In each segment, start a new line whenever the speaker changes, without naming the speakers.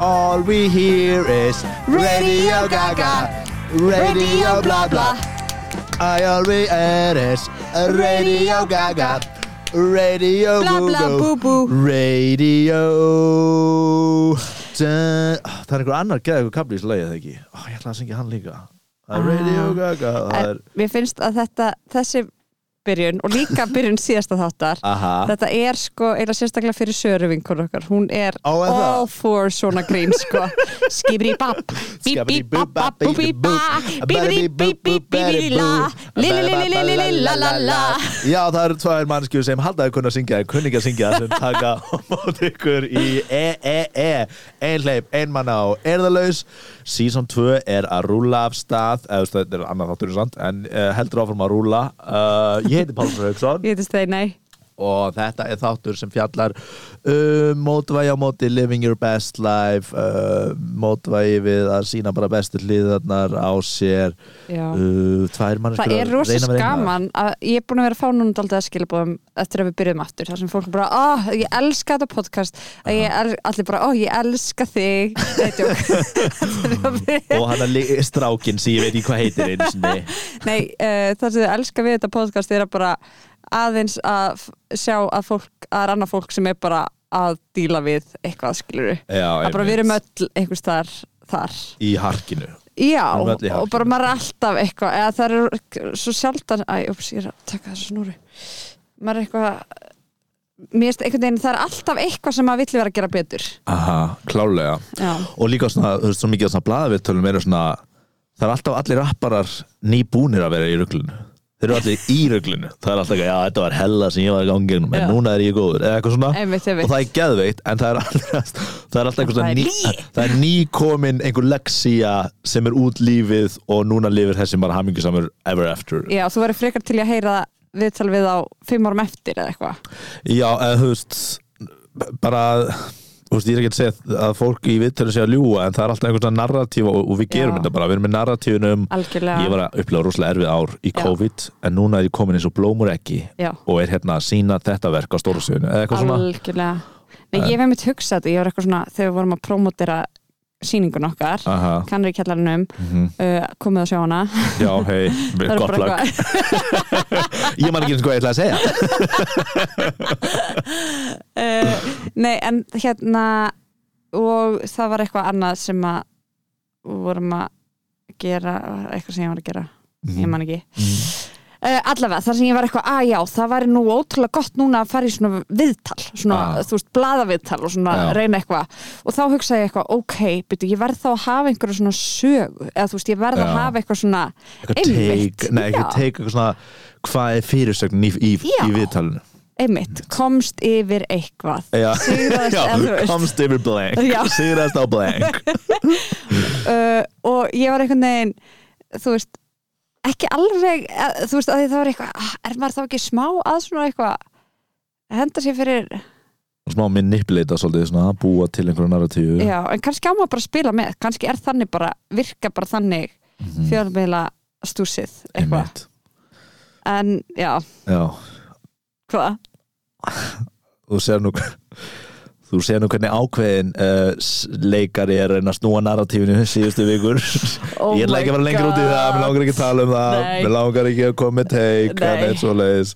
All we hear is Radio Gaga, Radio blah blah. I all we hear is Radio Gaga, Radio
Blah, blah,
Google,
boo, boo.
Radio. Dun- Oh, Það er einhver annar geðið kapli í þessu leið, eða ekki? Ó, ég ætla að syngja hann líka. Það er Radio
Ah.
Gaga, það er...
En Mér finnst að þetta, þessi byrjun og líka byrjun síðasta þáttar
Aha.
Þetta er sko eiginlega sérstaklega fyrir Söru vinkun okkar Hún er
Á, er það?
all for svona grín sko Skibri bap Bíbí bap bap búbí bá Bíbí bíbí bíbí la Lililililililala
Já, það eru tvær mannskjur sem haldaði kunna að syngja en kunni ekki að syngja sem taka á móti ykkur í e-e-e ein hleyp, ein manna á erðalaus Season 2 er að rúla af stað eða þú veist, þetta er annað þáttur sant, en uh, heldur áfram að rúla uh, Ég heiti Pálsson Hauksson
Ég heiti Steinei
og þetta er þáttur sem fjallar um mótvægi á móti living your best life uh, mótvægi við að sína bara bestu hliðarnar á sér
Já.
uh, tvær mannir
Það er rosa skaman að ég er búin að vera að fá núna daldið að skilabóðum eftir að við byrjum aftur þar sem fólk er bara, ah, ég elska þetta podcast að ég el, allir bara, ó, ég elska þig Nei, djók. Þetta er að við-
og hann er strákin sem ég veit ekki hvað heitir einu sinni
Nei, uh, það sem ég elska við þetta podcast er að bara aðeins að f- sjá að fólk, að er annað fólk sem er bara að díla við eitthvað skiluru
Já,
að bara
einmitt.
við erum öll einhvers þar þar.
í harkinu
Já,
Við erum öll í
og bara maður er alltaf eitthvað eða það eru svo sjaldan Æ, ups, ég er að taka þessu snúru maður er eitthvað mér erst einhvern veginn, það er alltaf eitthvað sem maður vill vera að gera betur
Aha, klálega
Já,
og líka svona, þú veist, svo mikið af svona blaðavitölum eru svona, það er alltaf allir rapparar nýbúnir að vera í ruglunu þeir eru allir í ruglunu, það er alltaf eitthvað, já, þetta var hella sem ég var í gangi gegnum, en
Já.
núna er ég góður, eða eitthvað svona
Einmitt, einmitt.
og það er geðveitt, en það er alltaf það er alltaf einhver svona
Það er
ný,
lygi.
það er nýkomin einhver leksía sem er út lífið og núna lifir þessi bara hamingisamur ever after
Já þú verður frekar til í að heyra viðtal við á fimm árum eftir eða eitthvað
Já, eða þú veist bara, þú veist, ég er ekki að segja að fólk í viðtölu sé að ljúga en það er alltaf einhvern svona narratíf og, og við gerum
Já.
þetta bara við erum með narratífunum,
Algjörlega.
ég var að upplega rosalega erfið ár í
Já.
COVID en núna er ég komin eins og blómur ekki
Já.
og er hérna að sína þetta verk á stóra sviðinu eða eitthvað svona,
Algjörlega Nei, ég hef einmitt hugsað þetta, ég var eitthvað svona þegar við vorum að promotera sýningun okkar
aha, Mhm.
kannri í kjallarunum, uh, komið að sjá hana
já, hei
Það eru
gott
bara
lag,
eitthvað-
ég man ekki eins og hvað ég ætla að segja
uh, Nei, en hérna og það var eitthvað annað sem að vorum að gera, eitthvað sem ég var að gera
Mhm.
ég man ekki uh, allavega þar sem ég var eitthvað, að já, það væri nú ótrúlega gott núna að fara í svona viðtal svona,
Ah.
þú veist, bladaviðtal og svona
Já.
reyna eitthvað, og þá hugsaði ég eitthvað ok, byrju, ég verð þá að hafa einhverju svona sögu, eða þú veist, ég verð
Já.
að hafa eitthvað svona
eitthvað teik, nei, eitthvað
já,
teik eitthvað svona, hvað er fyrirsögn í, í,
Já.
í viðtalinu
einmitt, komst yfir eitthvað
Já,
Sigraðist,
já,
eða þú veist.
komst yfir blank
Já.
Sigrast á blank
uh, og ég var einhvern veginn þú veist, ekki alveg eh, þú veist, að því það var eitthvað ah, er maður þá ekki smá að svona eitthvað henda sér fyrir,
smá manipulata svolítið svona að búa til einhverju narratíu
já, en kannski á maður bara að spila með, kannski er þannig bara, virka bara þannig fjölmiðla stúsið eitthvað,
Mhm. Einmitt.
en já
Já,
hvað,
þú sér nú þú sér nú hvernig ákveðin uh, s- leikari er að reyna að snúa narratífinu síðustu vikur
Oh
ég ætla
my
ekki að vera lengur út í það, mér langar ekki að tala um það
Nei.
mér langar ekki að koma með teik
Nei.
eða svo leiðis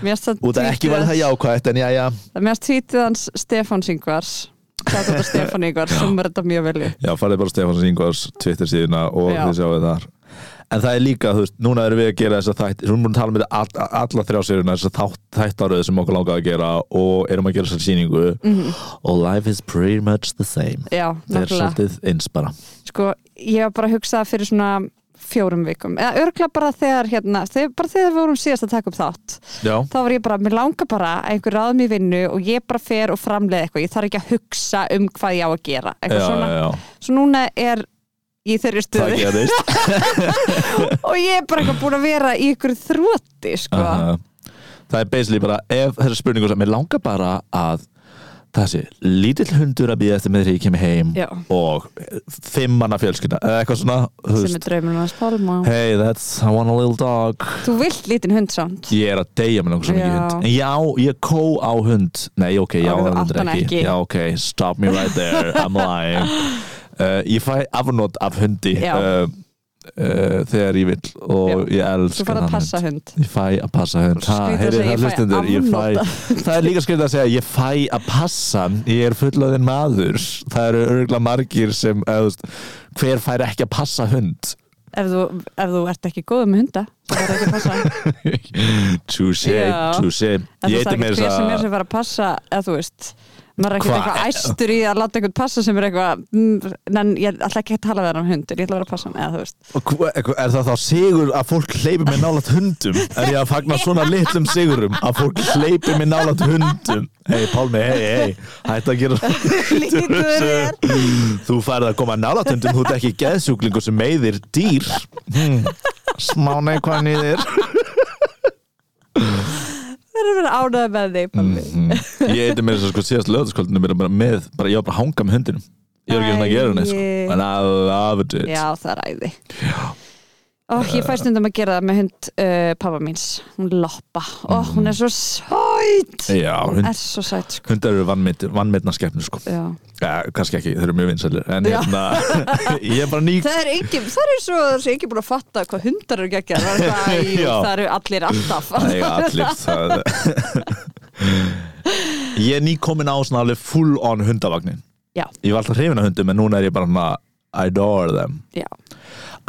mér stætt
út að ekki var það jákvætt en já já
mér stætt hans Stefán Singvars Stefán Ingvars, sem er þetta mjög velju
Já, farið bara Stefáns Ingvars Twitter síðuna og
Já.
þið sjáu þar En það er líka, þú veist, núna erum við að gera þess að þætt Við erum búin að tala um þetta all, alla þrjá séruna þess að þættaröðu sem okkur langaði að gera og erum að gera þess að síningu
Mhm.
og life is pretty much the same Það
já,
er
náttúrulega
svolítið eins bara
sko, ég var bara að hugsa það fyrir svona fjórum vikum, eða örgla bara þegar hérna, þegar, bara þegar við vorum síðast að taka upp þátt
Já,
þá var ég bara, mér langar bara að einhver ráðum í vinnu og ég bara fer og framleiði eitthvað ég þarf ekki að hugsa um hvað ég á að gera
já, já,
eitthvað svona,
já,
svo núna er ég í þeirri
það
stöðu
gerist
og ég er bara eitthvað búin að vera í ykkur þrótti sko.
Aha. Það er basically bara, ef þessar spurningu sem mér langar bara að það sé lítill hundur að býða eftir með þegar ég kemur heim
Já.
og fimm manna fjölskylda eða eitthvað svona þú
sem
veist,
er draumurinn hans Pálma
hey that's I want a little dog
þú vilt lítinn hund samt
ég er að deyja með langar svo mikið
Já.
hund en já ég kó á hund nei ok já
Ok, þú átt
hundur
hann ekki.
já ok stop me right there I'm lying uh, ég fæ afnót af hundi
Já.
uh, uh, þegar ég vil og ég
þú
elskar
fara að
þann
passa hund
Ég fæ að passa hund ha,
Skrýtið að
heyrið
segja,
það
ég fæ
hlustendur, ég
afnota.
fæ- Það er líka skrifað að segja Ég fæ að passa hann, ég er fullöðin maður Það eru örgulega margir sem eða, þú veist, Hver fær ekki að passa hund
ef þú, ef þú ert ekki góð með hunda þá fara ekki að passa
Touché,
Já.
touché
en
Ég
þú
heiti
sagði
mér
hver sem er
þess að
sem fara að passa eða þú veist maður er ekkert
Hva-
eitthvað æstur í að láta eitthvað passa sem er eitthvað mm, en ég ætla ekki að tala við hann um hundur ég ætla að vera að passa hann eða þú veist
Og hva- Er það þá sigur að fólk hleypi með nálat hundum Er ég að fagna svona litlum sigurum Að fólk hleypi með nálat hundum Hei Pálmi, hei, hei Hætt að gera
lítur
eh,
þér
Þú færð að koma nálatundum, þú ert ekki geðsjúklingur sem meiðir dýr hmm. Smá neikvæðan í þér
það er að vera ánægð með þig Pálmi
Mm, Hmm. Ég eitthvað með þess að sko síðast lögðaskvöldinu mér er bara með, bara ég var bara að hanga með hundinum Ég er ekki svona að gera henni sko
Æi.
And I love it
já það er æði og ég fæst stundum að gera það með hund uh, pappa míns, hún loppa
Mm.
og hún er svo sætt
Já, hund,
er svo sætt sko
hundar eru vannmynd- vannmetna skepnur sko
já.
ja, Kannski ekki, þeir eru mjög vinsælir En
Já.
hérna, ég er bara ný
það er ekki, það er svo það er ekki búin að fatta hvað hundar eru geggja það, er bara, jú,
Já.
það eru allir alltaf
Það eiga allir það Ég er nýkomin á svona alveg full on hundavagnin
Já.
Ég var alltaf hrifin af hundum en núna er ég bara svona I adore them
já,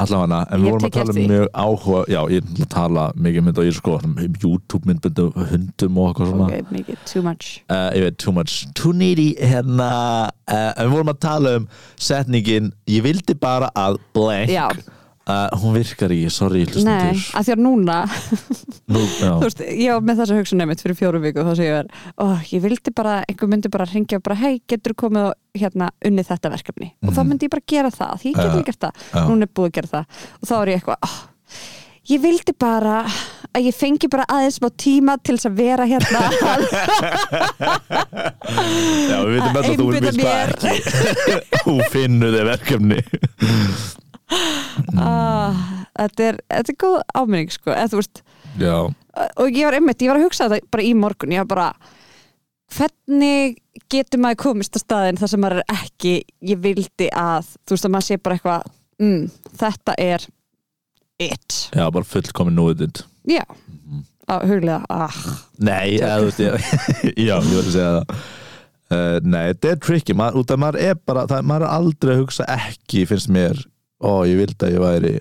Allavega, en
Ég
við
hef
vorum að
tekið
tala um
eftir því.
mjög áhuga Já, ég er að tala mikið mynd og ég er sko um YouTube myndbund um hundum og eitthvað svona
ok, mikið, too much
uh, Ég veit, too much, too needy hérna uh, En við vorum að tala um setningin Ég vildi bara að blank
Já.
Uh, hún virkar ekki, sorry,
Nei,
hlustendur
að því að núna
Nú, já.
þú veist, ég var með þessa hugsun nefnt fyrir fjórum viku þá segir ég verið, oh, ég vildi bara einhver myndi bara hringja og bara, hei, getur komið og hérna unnið þetta verkefni og þá myndi ég bara gera það, því ég
Mhm. Já,
get ekki gert það
já.
núna er búið að gera það og þá er ég eitthvað, oh, ég vildi bara að ég fengi bara aðeins smá tíma til þess að vera hérna að
Já, við veitum öll að þú
einbeita
vilt það ekki Þú finnur þig verkefni
ah, þetta, er, þetta er góð áminning sko, eða þú veist
Já
og ég var einmitt, ég var að hugsa þetta bara í morgun ég var bara hvernig getur maður komist að staðin þar sem maður er ekki, ég vildi að þú veist að maður sé bara eitthvað mm, þetta er it
Já, bara fullkomin núðind
já, að huglega ah,
Nei, eða þú veist ég Já, ég var að segja það uh, Nei, þetta er tricky maður, út að maður er bara það, maður er aldrei að hugsa ekki finnst mér, ó, ég vildi að ég væri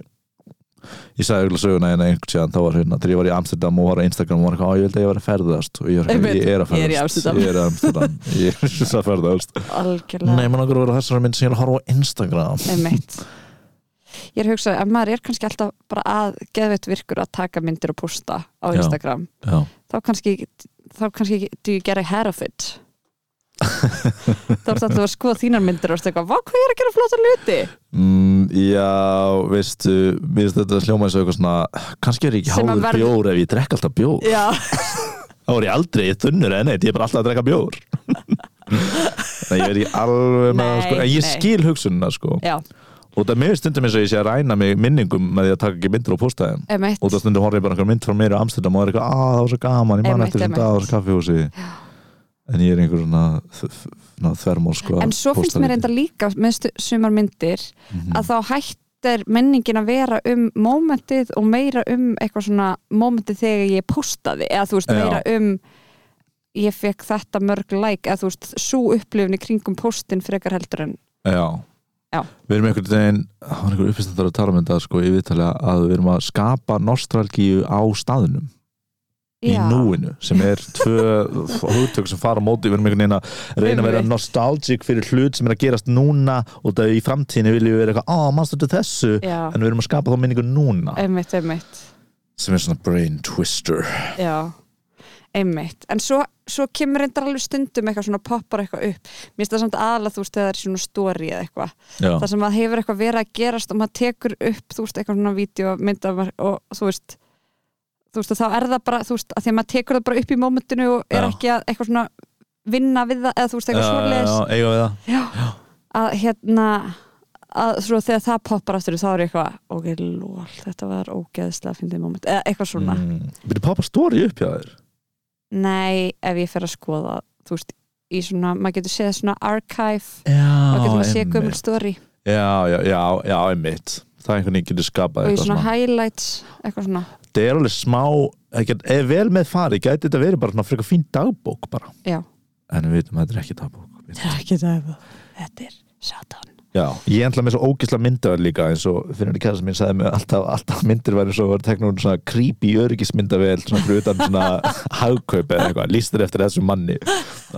Ég sagði auðvitað söguna en einhvern séðan þá var hérna, þegar ég var í Amsterdam og var á Instagram og var eitthvað, ó, ég vildi að ég væri að ferðast og ég, var, eitthvað,
Einmitt,
ég er að
ég er
ferðast
í Amsterdam.
Ég er í Amsterdam, ég er að ferðast Nei,
algjörlega
maður langar að vera á þessari mynd sem ég er að horfa á Instagram
einmitt ég er að hugsa að maður er kannski alltaf bara að geðveitt virkur að taka myndir og posta á
Já.
Instagram
Já
þá kannski þá kannski do you get a hair of it þá ertu alltaf að skoða þínar myndir og ertu eitthvað, hvað hvað ég er að gera flóta hluti
Mm, já, veistu, mér finnst þetta hljóma eins og eitthvað svona, kannski er ég ekki
Sem að
háður
verð-
bjór ef ég drekk alltaf bjór.
já,
Þá er ég aldrei, ég þunnur en neitt, ég er bara alltaf að drekka bjór. Nei, ég er ekki alveg með það,
Nei,
sko, en ég
nei.
skil hugsunina, sko.
já,
Og það mér finnst stundum eins og ég sé að ræna mig minningum með því að taka ekki myndir og posta þeim.
emitt
Og það stundum horfði ég bara einhver mynd frá mér í Amsterdam og það er eitthvað, að það var svo gaman, ég man
Einmitt,
eftir þessum
einmitt.
dag á þessu kaffihúsi. En ég er einhver svona, þ- þ- svona þvermór, sko.
en svo finnst mér enda líka með stu- sumar myndir
Mhm. Mm.
að þá hættir menningin að vera um mómentið og meira um eitthvað svona mómentið þegar ég postaði eða þú veist,
Já.
meira um ég fekk þetta mörg like eða þú veist, svo upplifin í kringum postin frekar heldur en
Já.
Já.
Við erum einhvern veginn, það var einhver uppistandar að tala um þetta sko í viðtali að við erum að skapa nostalgíu á staðnum í
Já.
núinu sem er tvö hugtök sem fara á móti, við erum einhvern veginn að reyna að vera
Einmitt.
nostalgic fyrir hlut sem er að gerast núna og það í framtíðinu viljum við vera eitthvað, á, mannstu þetta þessu
já,
en við erum að skapa þá minningu núna
emitt, emitt
sem er svona brain twister
Já, einmitt en svo, svo kemur reyndar alveg stundum eitthvað svona poppar eitthvað upp mér finnst það samt aðalega þú veist þegar það er svona story eða eitthvað,
Já,
það sem að hefur eitthvað verið að gerast og maður tekur upp þú veist eitthvað svona vídeo mynd af og þú veist þú veist og þá er það bara þú veist að því að maður tekur það bara upp í mómentinu og er
Já.
ekki að eitthvað svona vinna við það eða þú veist eitthvað svoleiðis
eiga við það
já, að hérna að svo þegar það poppar aftur upp, þá er ég eitthvað, ok, lól, þetta var ógeðslega fyndið moment, eða eitthvað svona
Mm. Byrju pappa stóri upp hjá þér
nei, ef ég fer að skoða þú veist, í svona, maður getur séð svona archive,
Já,
þá getur maður séð gömul
einmitt
story
Já, já, já, já, einmitt Það er einhvern veginn getur skapað
og í
eitthvað
svona
svona
highlights, eitthvað svona
Það er alveg smá, ekki, ef vel með fari gæti þetta verið bara svona frekar fín dagbók bara
já,
En við vitum að þetta er ekki dagbók
þetta er ekki það þetta er satan
Já, ég endla með svo ógisla myndaður líka eins og fyrir henni kæðast minn sagði mig alltaf, alltaf myndir væri svo voru teknur svona creepy öryggismyndavel svona fyrir utan svona hagkaup eða eitthvað, lístir eftir þessum manni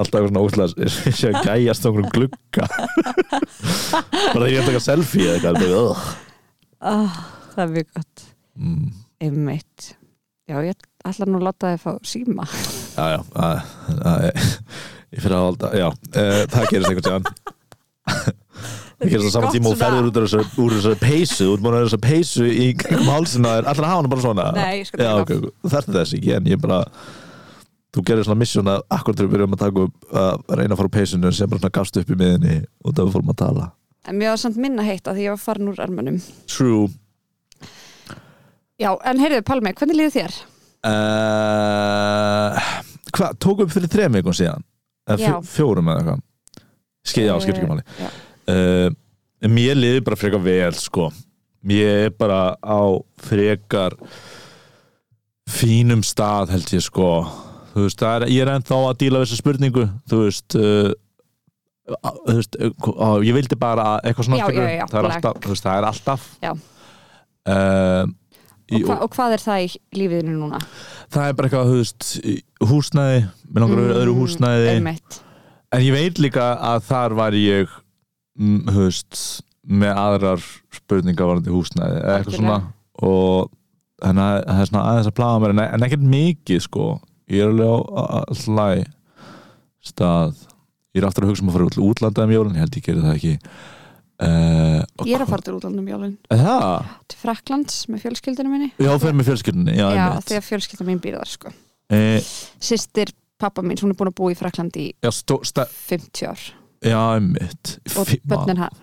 alltaf svona ógisla sé að gæjast á einhverjum glugga bara því ég er að taka selfie eða eitthvað bara, ugh.
oh, það er mjög gott,
mm,
einmitt já, ég ætla nú að láta þið fá síma
Já, já, að, að, ég fyrir að halda já, e, það gerist einhvern tíðan Það gerist á saman
Gott
tíma og þú
svona.
ferður út úr þessu- úr þessari peysu, þú ert búin að vera þessari peysu í kringum hálsina þér, allar að hafa hana bara svona
nei, ég skal
Ah. Já,
taka
ok, þetta er þess ekki en ég bara þú gerir svona misjón að akkur þegar við byrjum að taka upp að reyna að fara úr peysunum sem bara svona gafst upp í miðinni og það við fórum að tala
En mér var samt minna heitt að því ég var farin úr armunum.
True
Já, en heyrðu, Palmi, hvernig líður þér?
uh, Hvað, tók upp fyrir þrem vikum síðan?
Já. Eh,
Eða fjó- fjórum eða eitthvað Skil, já, skil ekki máli
Já.
uh, Mér liði bara frekar vel sko Ég er bara á frekar fínum stað held ég sko Þú veist, það er, ég er ennþá að díla við þessa spurningu Þú veist, uh, á- þú veist eh, á, Ég vildi bara að eitthvað svona
Já,
skilur.
já, já,
það, er
black.
alltaf, þú veist, það er alltaf
Já.
Eh, í-
Og, hva, og hvað er það í lífiðinu núna?
það er bara eitthvað, þú veist, í- húsnæði með langar mm, öðru húsnæði
Einmitt.
en ég veit líka að þar var ég mm, þú veist, með aðrar spurningar varandi húsnæði eða eitthvað svona
Algjörlega.
og þannig að það er svona aðeins að plaga mér en, e-, en ekkert mikið sko ég er alveg á á- á hlæ stað ég er aftur að hugsa um að fara út til útlanda um jólun, ég held ég geri það ekki uh,
Ég er að fara til útlandum jólun.
Það?
Til Fraklands með fjölskyldinu minni.
Já, fyrir með fjölskyldinni Já,
Já,
einmitt.
því að fjölskylda mín býr þar, sko.
Eh,
Systir pappa mín, hún er búin að búa í Fraklandi í
já, stó, stæ,
50 ár.
já, einmitt
Og
Fí- maður.
börnin, hann,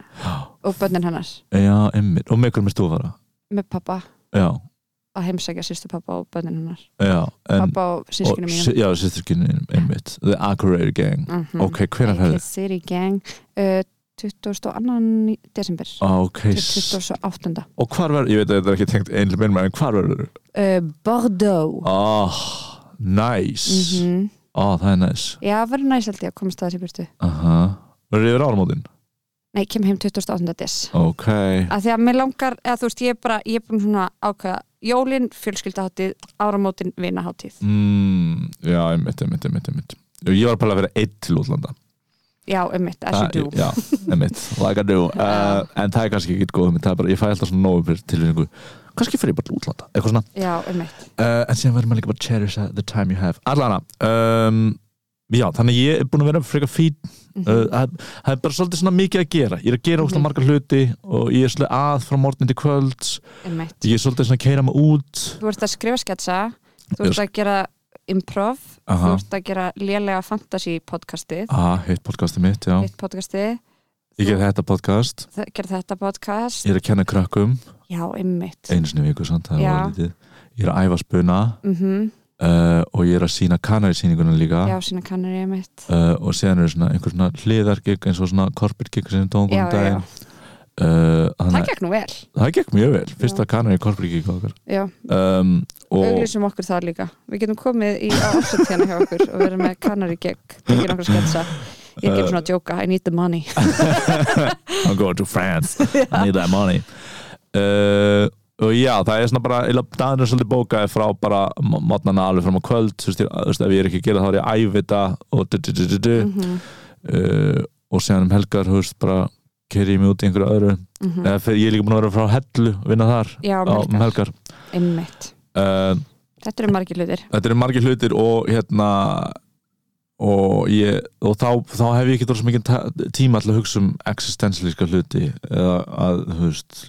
og börnin hennar
Já, einmitt, og með hverjum er þú að fara?
með pappa
Já,
að heimsækja systur pappa og börnin hennar.
já en,
pappa og sískinu
og-
mín.
Já, sýsturkinu einmitt The Accurate Gang
Mm -hmm.
Ok, hvenær ferðu?
City Gang uh, 22. desember.
Ah, Ok,
til
s-
28.
og hvar verður, ég veit að þetta er ekki tengt einlega minn en hvar verður?
Uh, Bordeaux
Ah,
mm
nice Ah, það er nice
Já, verður næst held ég að komast það þessi burtu
Aha. Verður yfir áramótin?
Nei, kem heim 28. des
Ok,
að Því að mér langar, eða þú veist, ég er bara ég er bara svona ákveða Jólin, fjölskyldaháttið, áramótin, vinaháttið
mm, já, einmitt, einmitt, einmitt, einmitt Ég var bara að vera einn til útlanda
Já, einmitt, as you do
Já, einmitt, like I do uh, En það er kannski ekki góð mynd, það er bara, ég fæ alltaf svona nógu fyrir tilfinningu Kannski fyrir ég bara til útlanda, eitthvað svona
Já, um einmitt
uh, en síðan verður maður líka bara cherish the time you have allana um, já, þannig að ég er búin að vera frekar fín
mm
uh, það það er bara svolítið svona mikið að gera ég er að gera óslega
Mhm.
margar hluti og ég er svolítið að frá morgnin til kvölds
einmitt
ég er svolítið svona að keira mig út
um Þú ert að skrifa sketsa, þú ert að gera improv, þú
aha,
ert að gera lélega fantasy podcastið
aha hitt podcastið mitt, já
eitt podcastið,
ég ger þetta podcast,
það- gera þetta podcast
ég er að kenna krökkum
Já, einmitt
einu sinni í viku, sant, það
Já.
var lítið ég er að æfa spuna
mm
uh, og ég er að sína kanarísýninguna líka
Já, sína kannur ég mitt
uh, og síðan eru svona einhver svona hliðargig eins og svona korpirgig sem tóngum
Já, já, já.
daginn uh, þannig
Það
að-
gekk nú vel
það gekk mjög vel, fyrsta kanar í korfriki okkar
Já,
um, og
auglýsum okkur það líka Við getum komið í ásett hérna hjá okkur og verið með kanar í gegn og gera okkur sketsa Ég er ekki svona að djóka, I need the money
I'm going to France I need that money uh, og já, það er svona bara daginn er svolítið bókaði frá bara modnana alveg fram á kvöld þú veist, ég- þú veist, ef ég er ekki að gera þá er ég að æfa þetta og du, du, du, du, du.
Mhm,
Uh, og síðan um helgar, þú veist, bara keri ég mig út í einhverju öðru
mhm.
eða fyrir, ég er líka búin að vera frá hellu að vinna þar
Já,
á um
melgar,
helgar
einmitt
uh,
Þetta eru margir hlutir
þetta eru margir hlutir og hérna og, ég, og þá, þá hef ég ekki dróð svo mikið ta- tíma til að hugsa um existenslíska hluti eða að, þú veist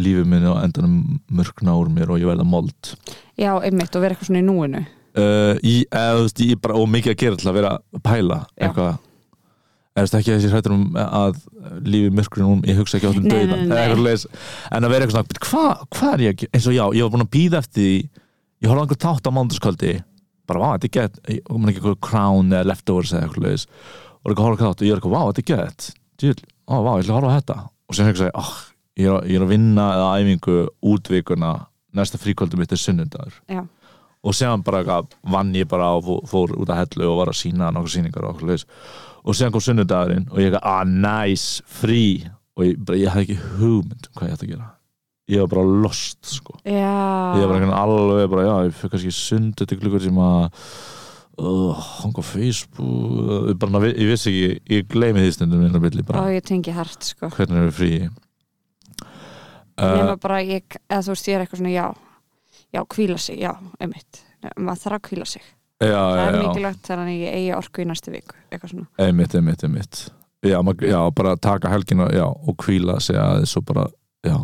lífið minni á endanum mörgna úr mér og ég verða mold
Já, einmitt, og vera eitthvað svona í núinu
uh, í, eða, þú veist, í bara, og mikið að gera til að vera að pæla
Já.
eitthvað er þetta ekki þessi hrættur um að lífið myrkurinn um, ég hugsa ekki átt um
Nei, nei,
döðan
nei, nei.
en að vera eitthvað svona, "Bíddu, hvað hva er ég að gera eins og já, ég var búin að býða eftir því ég horfði á einhver tátt á mándaskvöldi bara, vá, þetta er gett, ég kom ekki eitthvað crown eða leftovers eða eitthvað leis og er eitthvað að horfa á þátt og ég er eitthvað, vá, þetta er gett djúl, ó, vá, ég ætla að horfa á þetta og sem hugsa ég, oh, ég, er að- ég er að vinna eða æfingu út vikuna næsta fríkvöldu mitt er sunnudagur
Já.
og séðan bara eitthvað, vann ég bara og fór, fór út að hellu og var að sína nokkuð síningar og okkur leis og séðan kom sunnudagurinn og ég eitthvað, ah, nice, frí og ég, bara, ég hafði ekki hugmynd um hvað ég ætti að gera ég var bara lost, sko ég var
já,
einhvern alveg bara, já, ég fyrir kannski sund eftir klukkur tíma uh, hanga á Facebook uh, bara, na- ég vissi ekki, ég gleymi því stundum einhvern billi,
og
bara,
ég tengi hart sko
hvernig er við frí
nema
uh,
bara ég, eða þú veist ég er eitthvað svona já, já, kvíla sig, já, einmitt Nei, maður þarf að kvíla sig,
já, já,
það er
já,
mikilvægt þannig að ég eigi orku í næstu viku, eitthvað svona
einmitt, einmitt, einmitt já, mað, já, bara taka helgina já, og hvíla sig aðeins og bara já,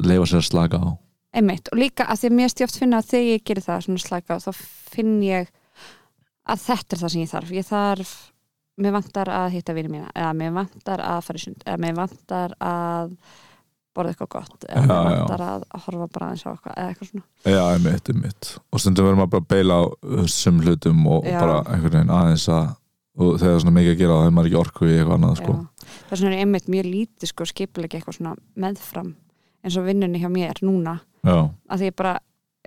leifa sér að slaka á
einmitt, og líka að því að mér stjátt finna að þegar ég gerir það svona slæka þá finn ég að þetta er það sem ég þarf ég þarf, mér vantar að hitta vinið mína, eða mér vantar að fara í sund eða mér vantar að borða eitthvað gott, eða
Já,
mér
já.
vantar að horfa bara aðeins á eitthvað, eða eitthvað svona
já, einmitt, einmitt og stundum verðum að bara beila á þessum hlutum og,
Já.
og bara einhvern veginn aðeins að og þegar það er svona mikið að gera þá hefur maður ekki orku í eitthvað annað sko.
Já. þess vegna er ég einmitt mjög lítið sko skipilegi eitthvað svona meðfram eins og vinnunni hjá mér núna
já,
að því ég bara,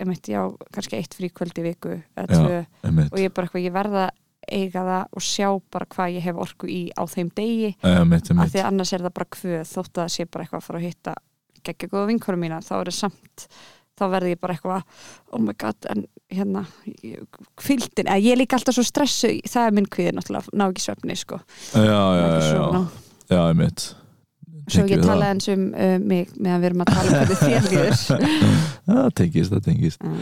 einmitt, já, kannski eitt fríkvöld í viku eða
Já.
tvö
einmitt
og ég bara eitthvað, ég verða eiga það og sjá bara hvað ég hef orku í á þeim degi
Einmitt,
af
einmitt.
því að annars er það bara kvöð þótt að það sé bara eitthvað að fara að hitta geggja góða vinkorum mína, þá er það samt þá verði ég bara eitthvað oh my god, en hérna kvildin, eða ég er líka alltaf svo stressu það er minn kviði náttúrulega, ná ekki svefni sko.
já, já, já,
Ekki
já,
svona.
já, einmitt
svo
Tengjum
ég
við það.
talaði eins um uh, mig meðan við erum að tala um hvernig þér líður
það tengist, það tengist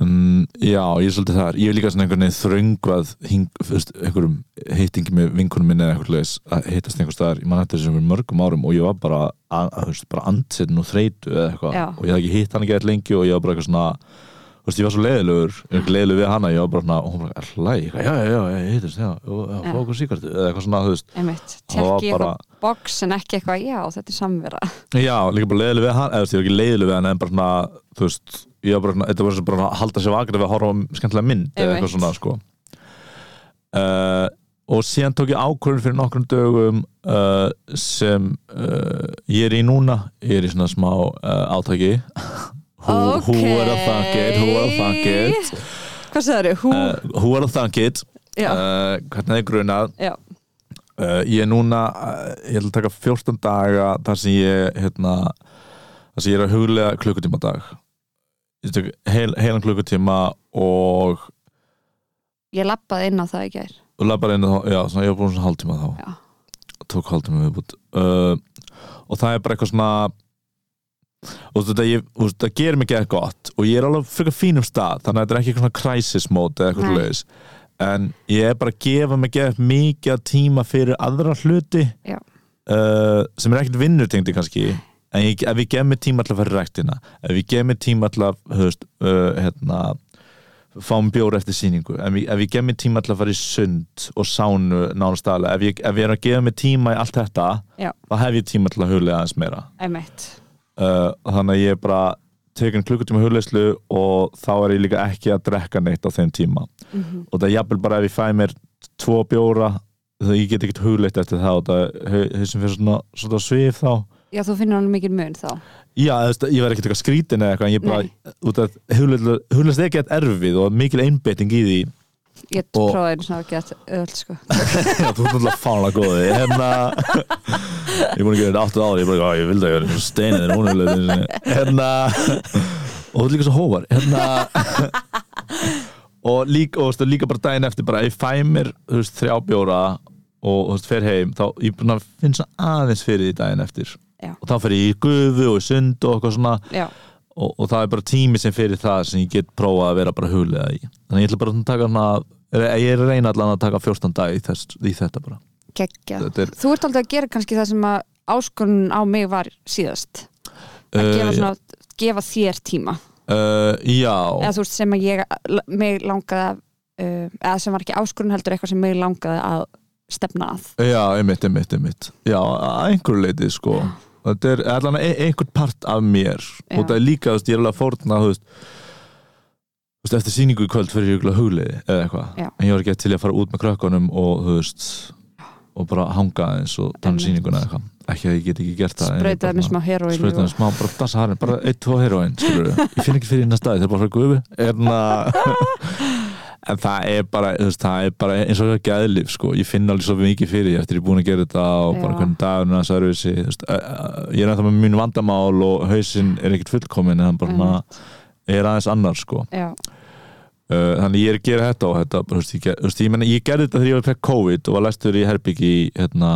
Mm.
um, já, ég er svolítið þar ég er líka svona einhvern veginn þröngvað hing, fyrst, einhverjum heitingi með vinkunum minni eða einhver leis að heitast einhver staðar ég man eftir þessum fyrir mörgum árum og ég var bara, að, að, þú veist, bara andsetin og þreytu eða eitthvað
Já.
og ég hafði ekki hitt hann ekki eitthvað lengi og ég var bara eitthvað svona þú veist, ég var svo leiðilegur, ég var ekki leiðilegur við hana ég var bara svona, og hún bara, er hlæg, já, já, já, já, ég hittast, já, já, já,
Já.
fá okkur síkartu eða eitthvað svona, þú veist,
einmitt,
Það var
tekki ég
bara-
eitthvað box en ekki eitthvað, já, þetta er samvera
Já, líka bara leiðileg við hann eða þú veist, ég var ekki leiðileg við hann en bara svona þú veist, ég var bara, svona- þetta var svona bara að halda sér vakar við að horfa á skemmtilega mynd eða eitthvað
Einmitt.
svona sko uh, og síðan tók ég ákvörðin fyrir nokkrum dögum uh, sem uh, ég er í núna ég er í svona smá uh, átaki who, who are the fuck it who are the fuck it
hvað sagður þau, hú,
uh, who are the fuck it
já,
uh, hvernig er grunað
já
Uh, ég er núna, uh, ég ætla að taka 14 daga þar sem ég hérna, þar sem ég er að huglega klukkutíma á dag ég tök heil, heilan klukkutíma og
ég lappaði inn á það í gær
og laði bara inn og þá, já, svona, ég var búin svona hálftíma þá
Já.
og tók hálftíma viðbútt uh, og það er bara eitthvað svona og þetta, ég, og þetta gerir mig ekki gott og ég er alveg fyrir fínum stað þannig að þetta er ekki eitthvað svona crisis mode eða eitthvað
Nei.
leis en ég er bara að gefa mig gefa mikið af tíma fyrir aðra hluti
Já.
uh, sem er ekkert vinnutengdi kannski en ég, ef ég gef mig tíma alltaf fyrir ræktina ef ég gef mig tíma alltaf höfst, uh, hérna fáum bjór eftir sýningu ef ég, ef ég gef mér tíma til að fara í sund og sánu nánastæðlega, ef, ég- ef ég er að gefa mér tíma í allt þetta,
Já.
þá hef ég tíma til að huglega aðeins meira
einmitt,
uh, þannig að ég er bara tekin klukkutíma hugleyslu og þá er ég líka ekki að drekka neitt á þeim tíma
mm
og það er jafnvel bara ef ég fæ mér tvo bjóra þegar ég get ekkert hugleitt eftir það og það er þessum fyrir svona, svona svif þá
já, þú finnur hann mikið mun þá
Já, þú veist, ég verð ekkert eitthvað skrítin eða eitthvað en ég
Nei.
bara, út af hugleyslu er gett erfið og mikil einbeiting í því
ég
Og-
prófaði eins og ekki að öll sko
Já, þú ert náttúrulega fánlega góði hérna, ég múin að gera þetta áttu ári ég bara, "Á, ég vildi að ég verið steinið en hún er leið hérna, og þú ert líka svo hóvar hérna, og, líka, og þú veist, líka bara daginn eftir bara, ef ég fæ mér þú veist, þrjá bjóra og þú veist, fer heim þá ég bara finn svona aðeins fyrir því daginn eftir
Já.
og þá fer ég í gufu og í sund og eitthvað svona
já,
og, og það er bara tími sem fyrir það sem ég get prófað að vera bara huglega í þannig að ég ætla bara að taka hana ég er að reyna allan að taka 14 dag í, þess, í þetta bara
geggja
þetta er,
þú ert aldrei að gera kannski það sem að áskonun á mig var síðast að
uh,
gefa, svona, gefa þér tíma
já, uh, já,
eða þú veist sem að ég mig langaði að, uh, eða sem var ekki áskurinn heldur eitthvað sem mig langaði að stefna að
já, einmitt, einmitt, einmitt já, að einhverju leiti sko þetta er allan ein- einhvern part af mér og það er líka, þú veist, ég er alveg að fórna þú veist, þú veist, eftir sýningu í kvöld fyrir ykkur hugliði eða eitthvað
Já.
en ég var ekki til í að fara út með krökkunum og þú veist og bara hanga eins og tann
Einmitt.
sýninguna eða eitthvað ekki að ég get ekki gert það en ég bara-
sprautaði mér smá heroin
sprautan smá, bara dansa harinn, bara eitt, tvo heroin skilurðu. ég finn ekki fyrir hérna staði, það er bara frá gufi en, en það er bara, þú veist, það er bara eins og það er geðlif, sko, ég finn alveg svo mikið fyrir því eftir ég er búin að gera þetta og bara
Já.
hvernig dagurinn að servisi, þú veist, eh, eh, ég er ennþá með mín vandamál og hausinn er ekkert fullkomin en hann bara svona, er aðeins annar, sko
já,
Uh, þannig ég er að gera þetta og þetta bara, þú veist, ég, ger- þú veist, ég, meni, ég gerði þetta þegar ég var fekk COVID og var læstur í herbyggi í hérna,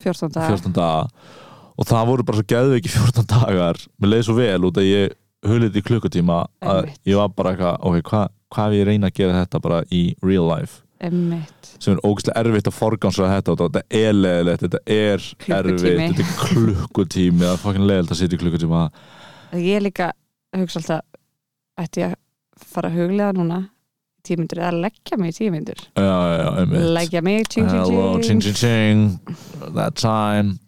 14 daga
14 daga og það voru bara svo geðveiki 14 dagar mér leiði svo vel út að ég hulið í klukkutíma að
Einmitt.
ég var bara eitthvað ok, hvað hva ef ég reyna að gera þetta bara í real life
emmitt
sem er ógeðslega erfitt að forgansra þetta og þetta er leðilegt, þetta er erfitt
Klukkutími.
þetta er klukkutími það er fokkin leðilegt að sitja í klukkutíma
ég líka hugsa alltaf ætti ég að fara að huglega núna tímyndur eða leggja mig í tímyndur
já, já, já, einmitt
leggja mig, tjing,
Hello, ching,
tjing, tjing
ching, ching That time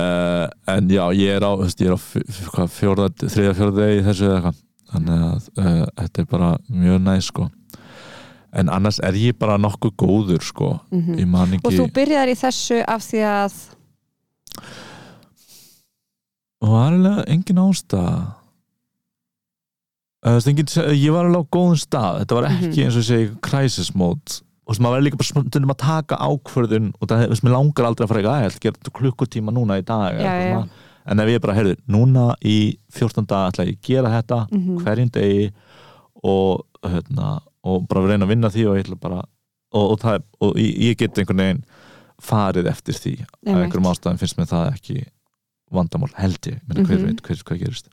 uh, En já, ég er á, þú veist, ég er á f- f- hvað, fjórða, þriða, fjórða degi í þessu eða eitthvað Þannig að uh, þetta er bara mjög næs sko En annars er ég bara nokkuð góður sko
Mhm.
Ég man
og
ekki
þú byrjar í þessu af því að
Og það er alveg engin ástæða Eh, þú veist, engin, Ég var alveg á góðum stað Þetta var ekki
Mhm.
eins og ég segi crisis mode og þess að maður verður líka bara stundum að taka ákvörðun og það þess að mér langar aldrei að fara eitthvað að ég ætla að gera þetta klukkutíma núna í dag eða
Já,
eitthvað
já, já.
svona. en ef ég bara heyrðu, núna í 14 dag ætla ég að gera þetta
Mhm.
hverjum degi og, hérna, og bara reyna að vinna því og ég ætla bara og, og, það, er- og ég, ég get einhvern veginn farið eftir því af
Einmitt.
einhverjum ástæðum finnst mér það ekki vandamál held ég, menn hver
Mhm.
veit hver, hvað gerist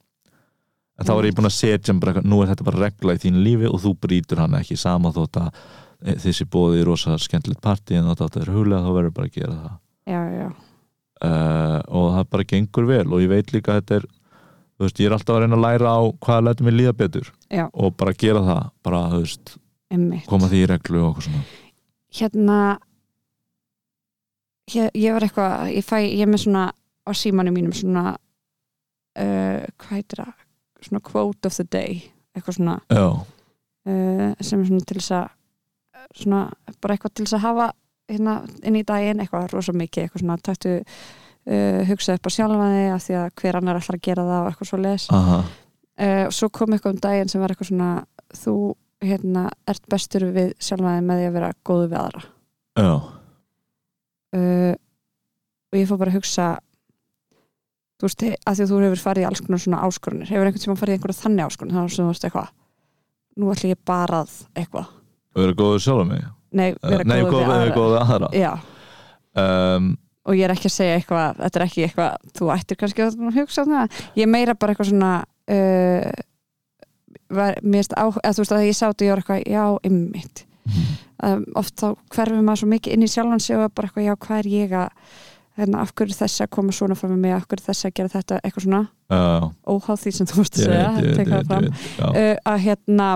en þá er ég búin að setja um bara, eitthvað, nú er þetta bara regla í þínu lífi og þú brýtur hana ekki sama þótt að e, þessi bóði í rosa skemmtilegt partí en þótt að þetta er huglega þá verður bara að gera það
já, já,
uh, og það bara gengur vel og ég veit líka að þetta er þú veist, ég er alltaf að reyna að læra á hvað letur mér líða betur
Já.
og bara gera það bara, þú veist,
emmitt
koma því í reglu og okkur svona
hérna ég, ég var eitthvað ég, fæ, ég er með svona á símanum mínum svona uh, hvað heitir það, svona quote of the day eitthvað svona
já,
uh, sem er svona til þess að svona bara eitthvað til þess að hafa hérna inn í daginn eitthvað rosa mikið eitthvað svona tættu uh, hugsað upp á sjálfa þig af því að hver annar ætlar að gera það og eitthvað svo les
aha,
uh, svo kom eitthvað um daginn sem var eitthvað svona þú hérna ert bestur við sjálfa þig með því að vera góðu við aðra
já,
uh, og ég fór bara að hugsa þú veist, að því að þú hefur farið í alls konar svona áskorunir, hefur einhvern tímann farið í einhverja þannig áskorun, þannig að þú veist eitthvað nú ætla ég bara að eitthvað
vera góður sjálf mig
nei, vera
Eh, nei,
góð
góð,
við aðra
góð við aðra
já,
um,
og ég er ekki að segja eitthvað þetta er ekki eitthvað, þú ættir kannski að hugsa um það, ég er meira bara eitthvað svona uh, var, mér erst á, eða þú veist að ég sátt og ég var eitthvað, já, ymmit
Mhm.
um, oft þá hverfum maður svo mikið inn í sjálfan sig og er bara eitthvað, já, hvað er ég að hérna, af hverju er þessi að koma svona fram með mig af hverju er þessi að gera þetta, eitthvað svona
já,
óháð því sem þú vorst að
ég
segja
veit, ég
þetta
veit, ég
er eitthvað
veit, ég
fram.
veit já.
uh, að hérna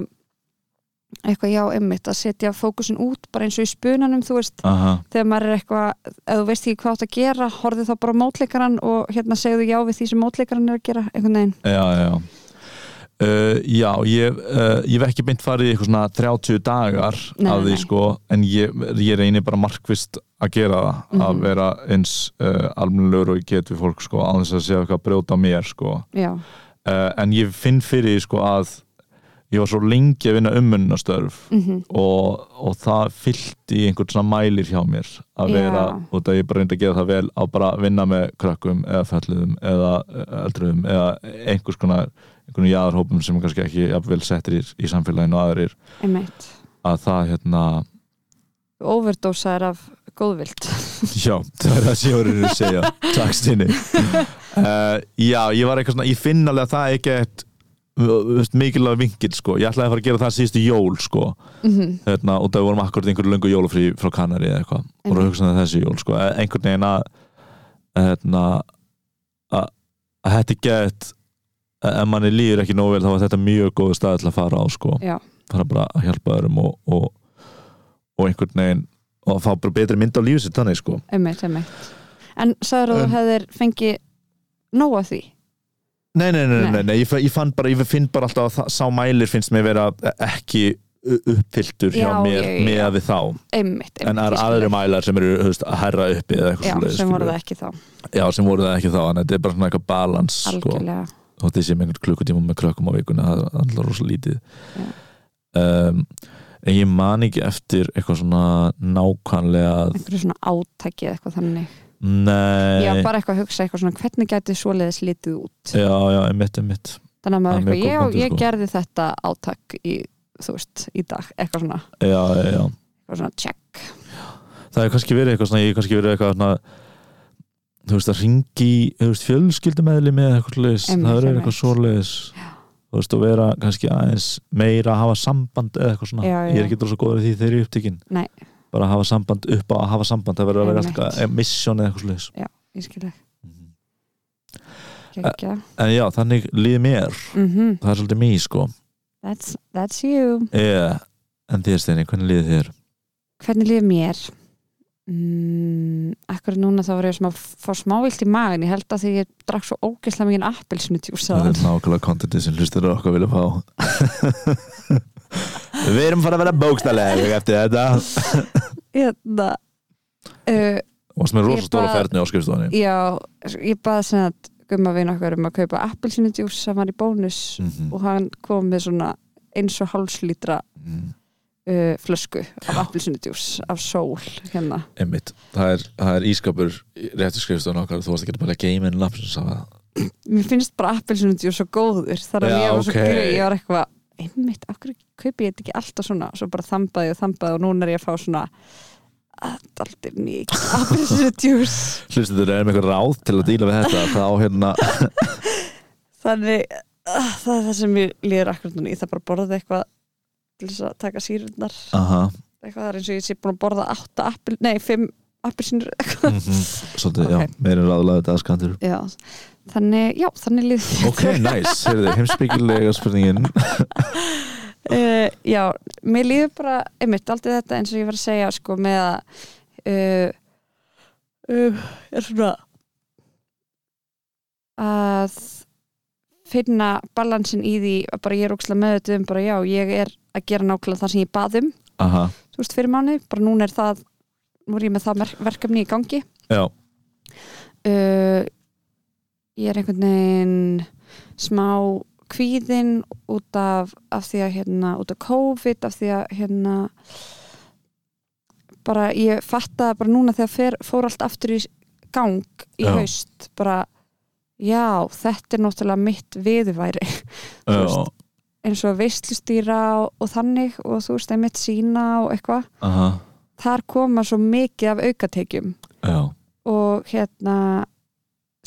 eitthvað já, einmitt, að setja fókusin út bara eins og í spunanum, þú veist
aha,
þegar maður er eitthvað, ef þú veist ekki hvað átt að gera horfið þá bara á mótleikaran og hérna segðu já við því sem mótleikaran er að gera einhvern veginn,
já, já Uh, já, ég, uh, ég hef ekki beint farið í eitthvað svona 30 dagar
Nei,
af því
nei.
sko, en ég, ég reyni bara markvist að gera það, að
Mhm.
vera eins uh, almennilegur og ég get við fólk sko, á þess að segja eitthvað að brjóta á mér sko
já,
uh, en ég finn fyrir því, sko að ég var svo lengi að vinna ummunnastörf
mm
og, og það fyllti í einhvern svona mælir hjá mér að vera,
Já.
út að ég bara reyndi að gera það vel að bara vinna með krökkum eða fælluðum eða eldruðum eða einhvers konar einhvern jáðarhópum sem er kannski ekki ja, vel settir í, í samfélaginu og aðrir
einmitt
að það hérna,
overdósaður af góðvild
já, það er það sem ég voru að segja, takk stinni uh, já, ég var eitthvað svona ég finn alveg að það er ekki eitt mikilvæg vingill sko, ég ætlaði að fara að gera það síðustu jól sko,
mm
hérna, og það vorum akkurat einhverju löngu jólafrí frá Kanari eða eitthvað og vorum að hugsa um þessi jól sko. Eh, einhvern veginn að hérna, að að þetta er gett ef manni líður ekki nóg vel þá var þetta mjög góð stað til að fara á sko
Já.
fara bara að hjálpa öðrum og, og, og einhvern veginn og fá bara betri mynd á lífið sitt þannig sko
einmitt, einmitt en sagður að
En-
þú hefðir fengið nóg af því
Nei, nei, nei, nei,
Nei.
nei, ég, fa- ég fann bara, ég finn bara alltaf að það- sá mælir finnst mér vera ekki u- uppfylltur hjá
Já,
mér
já, já, já.
með við þá
einmitt, einmitt
en það
ég
eru
skil
aðri
það.
mælar sem eru höfst, að herra uppi eða eitthvað
já,
svoleiðis,
sem voru
skilur.
það ekki þá,
Já, sem voru það ekki þá, en þetta er bara svona eitthvað balans sko.
algjörlega
og þessi með einhvern klukkutíma með krökkum á vikuna það er alltaf rosa lítið
Já.
um, en ég man ekki eftir eitthvað svona nákvæmlega
einhverju svona átæki eða eitthvað þannig
nei,
ég var bara eitthvað að hugsa eitthvað svona hvernig gæti svoleiðis litið út
já, já, einmitt, einmitt
þannig að maður
Það er mjög
eitthvað,
góð
já,
punktur,
ég
sko.
gerði þetta átak í, þú veist, í dag eitthvað svona,
já, já, já.
eitthvað svona check
það er kannski verið eitthvað svona, ég hef kannski verið eitthvað svona þú veist að ringi þú veist fjölskyldumæðli með eitthvað leis
Einmitt,
það er
einmitt.
eitthvað svoleiðis þú veist og vera kannski aðeins meira að hafa samband eða eitthvað svona
Já, já.
ég er ekki dróð svo góður í því þegar ég er upptíkin
Nei.
bara að hafa samband upp á að hafa samband það verður að vera
Einmitt.
alltaf mission eða eitthvað svoleiðis
ég skil það,
Mhm.
gekkja
en já þannig líð mér
mm
það er svolítið mjög sko
that's, that's you
yeah. en þér Steini, hvernig líð þér?
hvernig líður mér mm, ekkur núna þá var ég smá, fór smávilt í magan ég held að því ég drakk svo ógeðslega mikið appelsinu
það
tjúsaðan
er nákvæmlega kontentið sem hlustur okkar vilja fá við erum fara að vera bókstælega eftir þetta
hérna uh,
og sem er rosa
Ég
stóra
bað-
ferðni á skrifstofunni
já, ég baði sem að gumma vinn okkar um að kaupa appelsinu tjús sem var í bónus
Mhm,
og hann kom með svona eins og hálslítra
mhm,
uh, flösku af appelsinu tjús af sól hérna
einmitt það er, það er ískapur réttu skrifstofun okkar þú varst ekki bara að geima inn lapp sem sá það
mér finnst bara appelsinutjúr svo góður þar að
Já,
ég var svo
ok.
okay. ég var eitthvað einmitt, af hverju kaupi ég þetta ekki alltaf svona svo bara þambaði og þambaði og núna er ég að fá svona "Ah, alltaf mikið appelsinutjúr
hlustu þurra er með eitthvað ráð til að díla við þetta það á hérna
þannig uh, það er það sem ég líður akkur núna ég þarf bara að borða eitthvað til þess að taka sírundar
aha,
eitthvað það er eins og ég sé búin að borða 8 appel, nei 5 appelsinur eitthvað
mhm, svolítið,
Ok.
já, meira ráðlega þetta aðskandur
já, þannig, já, þannig líður
ok, næs, nice. heyrðu, heimsbyggilega spurningin
uh, já, mér líður bara einmitt aldrei þetta eins og ég var að segja sko með að uh, uh, er svona að finna balansin í því að bara ég er ókslega með þetta um bara já, ég er að gera nákvæmlega það sem ég bað um
aha,
þú veist fyrir mánu, bara núna er það nú er ég með það mer- verkefni í gangi
já,
uh, ég er einhvern veginn smá kvíðin út af, af því að hérna, út af COVID af því að hérna bara ég fattaði bara núna þegar fer, fór allt aftur í gang í
Já.
haust bara já, þetta er náttúrulega mitt viðværi Þú
já,
veist. eins og veislustýra og, og þannig og þú veist, einmitt sína og eitthvað
aha
þar koma svo mikið af aukatekjum
já,
og hérna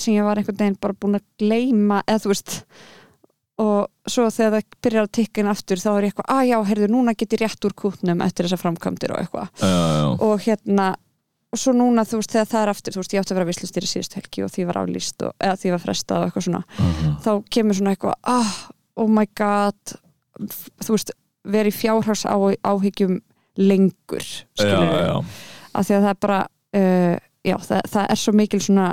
sem ég var einhvern veginn bara búin að gleyma eða þú veist og svo þegar það byrjar að tikka inn aftur þá er ég eitthvað, að já, heyrðu, núna get ég rétt úr kútnum eftir þessar framkvæmdir og eitthvað
já, já,
og hérna, og svo núna þú veist, þegar það er aftur, þú veist, ég átti að vera vislustýri síðust helgi og því var aflýst og, eða því var frestað og eitthvað svona,
aha
þá kemur svona eitthvað, ah, oh my god þú veist, veri fjárhás á, áhyggjum lengur
já,
skilurðu
já,
af því að það er bara uh, já, það, það er svo mikil svona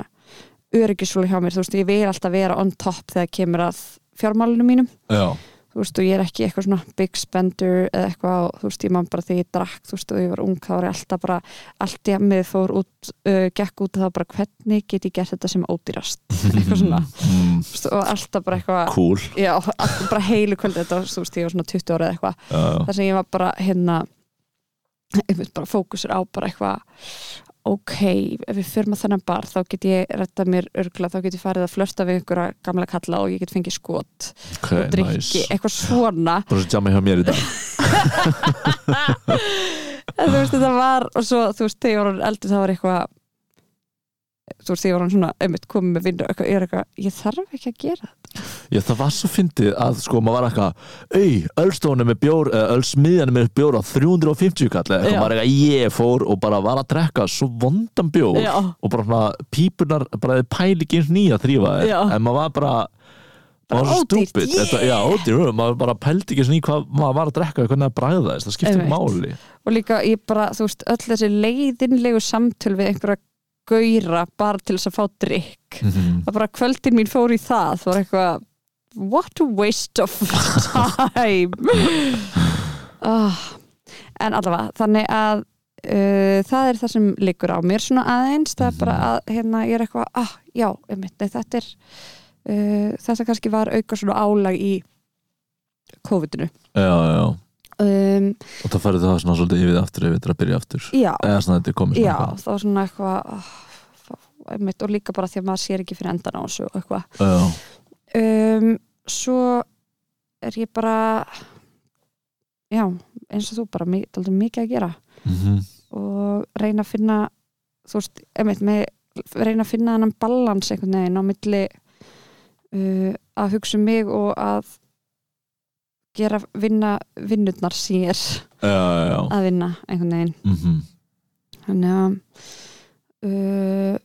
öryggisvölu hjá mér, þú veist, ég vil alltaf vera on top þegar kemur að fjármálunum mínum
já,
þú veist, og ég er ekki eitthvað svona big spender eða eitthvað, og, þú veist, ég man bara þegar ég drakk þú veist, og ég var ung, þá var ég alltaf bara allt ég með fór út, uh, gekk út og það var bara hvernig get ég gert þetta sem ódýrast eitthvað svona,
Mm,
þú veist, og alltaf bara eitthvað
cool
já, alltaf bara heilu kvöld þetta, var, þú veist, ég var svona 20 ára eða eitthvað
já, já,
þar sem ég var bara hérna einmitt bara fókusur á bara eitthvað ok, ef við förum að þennan bar þá get ég retta mér örgla þá get ég farið að flörta við einhverja gamla kalla og ég get fengið skot
ok,
og drikki,
Eh, nice
eitthvað svona
bara svo jammi hjá mér í dag
en þú veist þetta var og svo þú veist þegar ég var orðin eldri þá var eitthvað þú veist þegar ég var orðin svona einmitt komið með vinnu og eitthvað, ég er eitthvað, ég þarf ekki að gera
Já, það var svo fyndið að sko maður var eitthvað Ei, ölstónum með bjór, eh, ölsmiðjanum með bjór á 350 kall eða
Já.
eitthvað, maður er eitthvað ég fór og bara var að drekka svo vondan bjór
Já.
og bara svona pípunar, bara þið pæli ekki eins nýja þrýfa
Já.
en maður var bara það var
Bara
svo
ódýrt,
stúpid
yeah!
þetta, já, ódýr, maður bara pældi ekki svona í hvað maður var að drekka og hvernig að bræða þess, það skiptir ekki
Einmitt.
máli
og líka ég bara, þú veist, öll þessi leiðinlegu samtöl við einhverja gauðra bara til þess að fá drikk
Mhm.
það bara kvöldin mín fór í það það var eitthvað what a waste of time oh. en allavega, þannig að uh, það er það sem liggur á mér svona aðeins, það er bara að hérna, ég er eitthvað, ah, já, einmitt, nei, þetta er uh, þetta kannski var auka svona álag í COVID-inu
já, já,
um,
og það færði það svona svolítið yfir aftur ef þetta er að byrja aftur
já,
eða svona þetta er komið
já,
svona eitthvað.
það var svona eitthvað ah, þá- einmitt, og líka bara því að maður sér ekki fyrir endan á þessu og eitthvað
já,
um, svo er ég bara já, eins og þú bara mi- dálítið mikið að gera
mhm,
og reyna að finna þú veist, einmitt með reyna að finna þennan balans einhvern veginn á milli uh, að hugsa um mig og að gera vinna vinnurnar sér
já, já, já
að vinna einhvern veginn
mhm,
þannig að uh,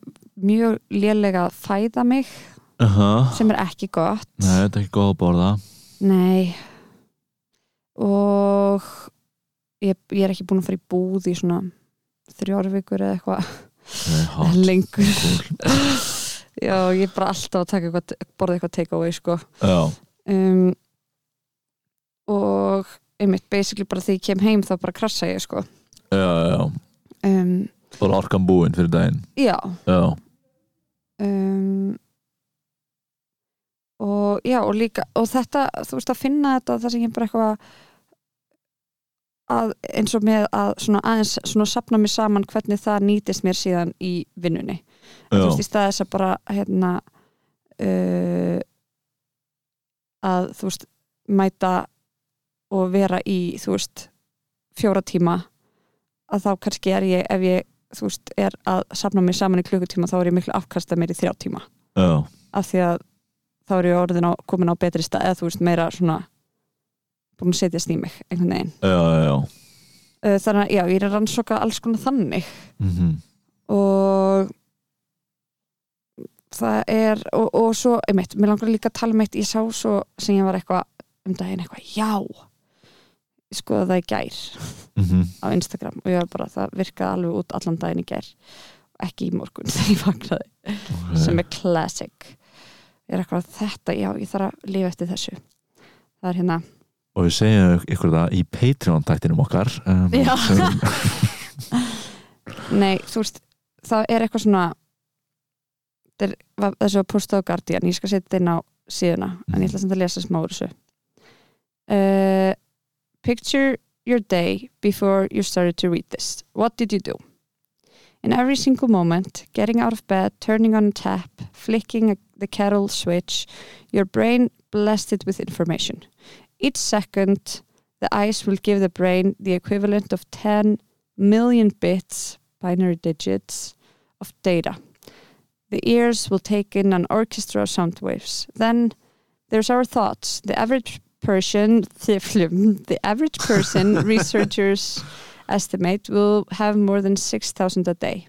mjög lélega að fæða mig
aha.
sem er ekki gott
nei, þetta er ekki góð að borða
Nei og ég, ég er ekki búin að fara í búð í svona þrjóra vikur eða eitthvað
Nei, hot,
lengur
cool.
Já, ég er bara alltaf að taka eitthvað, borða eitthvað take away sko
já,
um, og einmitt basically bara því ég kem heim þá bara krassa ég sko
já, já,
um,
bara orkan búin fyrir daginn
Já
já,
um, og já og líka og þetta, þú veist að finna þetta það sem ég bara eitthvað að eins og með að svona aðeins svona sapna mér saman hvernig það nýtist mér síðan í vinnunni þú
já,
veist í stað þess að bara hérna uh, að þú veist mæta og vera í þú veist fjóra tíma að þá kannski er ég ef ég þú veist er að sapna mér saman í klukkutíma þá er ég miklu afkasta mér í þrjá tíma
já
af því að þá er ég orðin á, komin á betri stað eða þú veist meira svona búin að setjast í mig einhvern veginn
já, já, já
uh, þannig að já, ég er að rannsóka alls konar þannig
mhm,
og það er og, og svo, einmitt, mér langar líka að tala um eitt ég sá svo sem ég var eitthvað um daginn eitthvað, já ég skoða það í gær
mhm,
á Instagram og ég var bara, það virkaði alveg út allan daginn í gær ekki í morgun þegar ég vaknaði
ok.
sem er classic ég er eitthvað þetta, já, ég þarf að lifa eftir þessu það er hérna
og við segjum ykkur það í Patreon-tættinum okkar um,
Já.
sem,
Nei, þú veist, það er eitthvað svona þetta er- var- þessu var postað á Guardian, ég skal setja þetta inn á síðuna, en ég ætla samt að lesa smá úr þessu uh, Picture your day before you started to read this What did you do? In every single moment, getting out of bed, turning on a tap, flicking a, the kettle switch, your brain blasted with information. Each second, the eyes will give the brain the equivalent of 10 million bits, binary digits, of data. The ears will take in an orchestra of sound waves. Then there's our thoughts. The average person, the average person, researchers estimate, will have more than 6,000 a day.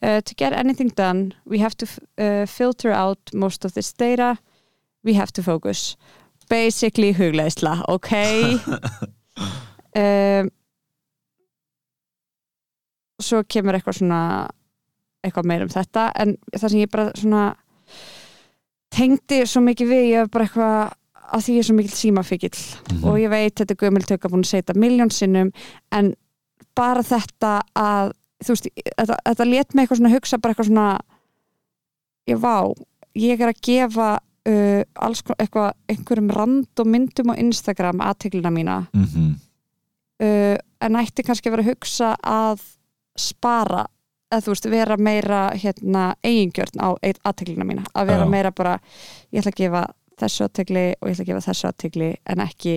Uh, to get anything done, we have to f- uh, filter out most of this data. We have to focus. Basically hugleisla, okay? um, svo kemur eitthvað svona eitthvað meira um þetta en það sem ég bara svona tengdi svo mikið við ég var bara eitthvað að því ég er svo mikil símafikill
Mhm.
og ég veit þetta er gömul tökka búin að segja þetta miljón sinnum en bara þetta að þú veist, þetta, þetta let mig eitthvað svona hugsa bara eitthvað svona ég vá, ég er að gefa uh, alls konar- eitthvað einhverjum random myndum á Instagram aðteglina mína
mhm,
uh, en ætti kannski að vera að hugsa að spara eða þú veist, vera meira hérna, eigingjörn á aðteglina mína að vera
Já.
meira bara, ég ætla að gefa þessu aðtegli og ég ætla að gefa þessu aðtegli en ekki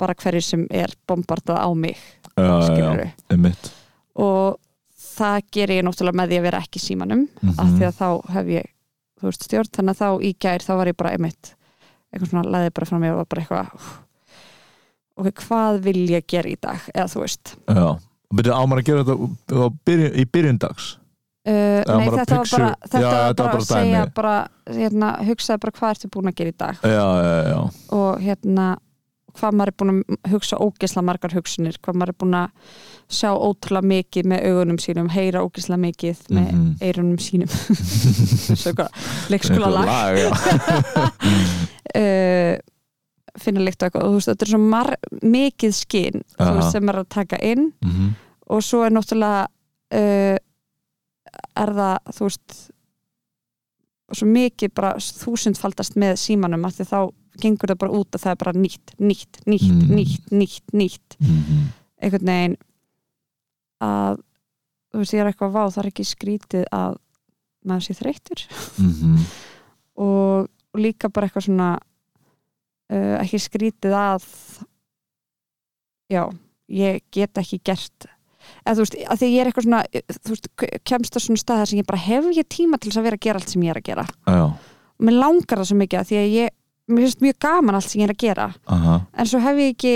bara hverju sem er bombardað á mig
já, já,
skilurðu.
já, einmitt
og það ger ég náttúrulega með því að vera ekki í símanum
Mhm.
af því að þá hef ég þú veist, stjórn, þannig að þá í gær þá var ég bara einmitt, eitthvað svona laðið bara frá mér og var bara eitthvað "Úff, ok, hvað vil ég gera í dag, eða þú veist
já, byrju ámar að gera þetta á byrjun, í byrjundags Eða
Uh, nei,
bara
þetta var
pixu-
bara, þetta
Já, þetta
var
var
bara
bara
að segja
dæmi. Eh.
bara, hérna, hugsaði bara hvað ertu búin að gera í dag
já, já, já,
og hérna hvað maður er búin að hugsa ógisla margar hugsunir, hvað maður er búin að sjá ótrúlega mikið með augunum sínum heyra ógisla mikið með
Mhm.
eyrunum sínum þessu eitthvað leikskóla
Eitthvað
lag
já.
uh, finna líkt og eitthvað og þú veist, þetta er svo mar- mikið skinn
Aha.
veist, sem er að taka inn
Mhm.
og svo er náttúrulega uh, er það þú veist svo mikið bara þúsundfaldast með símanum af því þá gengur það bara út að það er bara nýtt, nýtt, nýtt,
Mm.
nýtt, nýtt, nýtt
Mhm.
einhvern veginn að þú veist ég er eitthvað vá það er ekki skrítið að maður sé þreyttur
Mhm.
og, og líka bara eitthvað svona uh, ekki skrítið að já, ég get ekki gert eða þú veist, að því ég er eitthvað svona þú veist, k- kemst það svona stað þar sem ég bara hef ég tíma til þess að vera að gera allt sem ég er að gera
já,
og mér langar það svo mikið að því að ég mér finnst mjög gaman allt sem ég er að gera
aha,
en svo hef ég ekki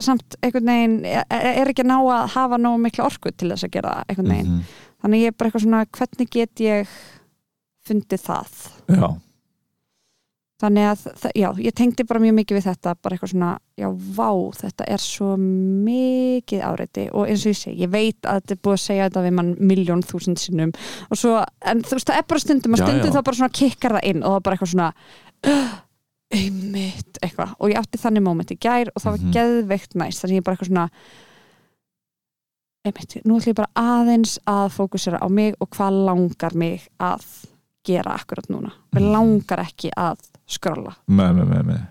samt einhvern veginn er er ekki að ná að hafa nóg mikla orku til þess að gera það einhvern veginn,
Mhm.
þannig ég er bara eitthvað svona hvernig get ég fundið það
já
þannig að, þa- já, ég tengdi bara mjög mikið við þetta, bara eitthvað svona, já, vá þetta er svo mikið áreiti og eins og ég segi, ég veit að þetta er búið að segja þetta við mann miljón þúsund sinnum og svo, en þú veist, það er bara stundum að
Já,
stundum
já.
þá bara svona kikkar það inn og það er bara eitthvað svona auðvitað, eitthvað, og ég átti þannig moment í gær og það var
Mhm.
geðveikt næst þannig ég bara eitthvað svona einmitt, nú ætlum ég bara aðeins að fókusera á mig og hvað langar mig að gera akkurat núna mér
Mhm.
langar ekki að skrolla
með, með, með, með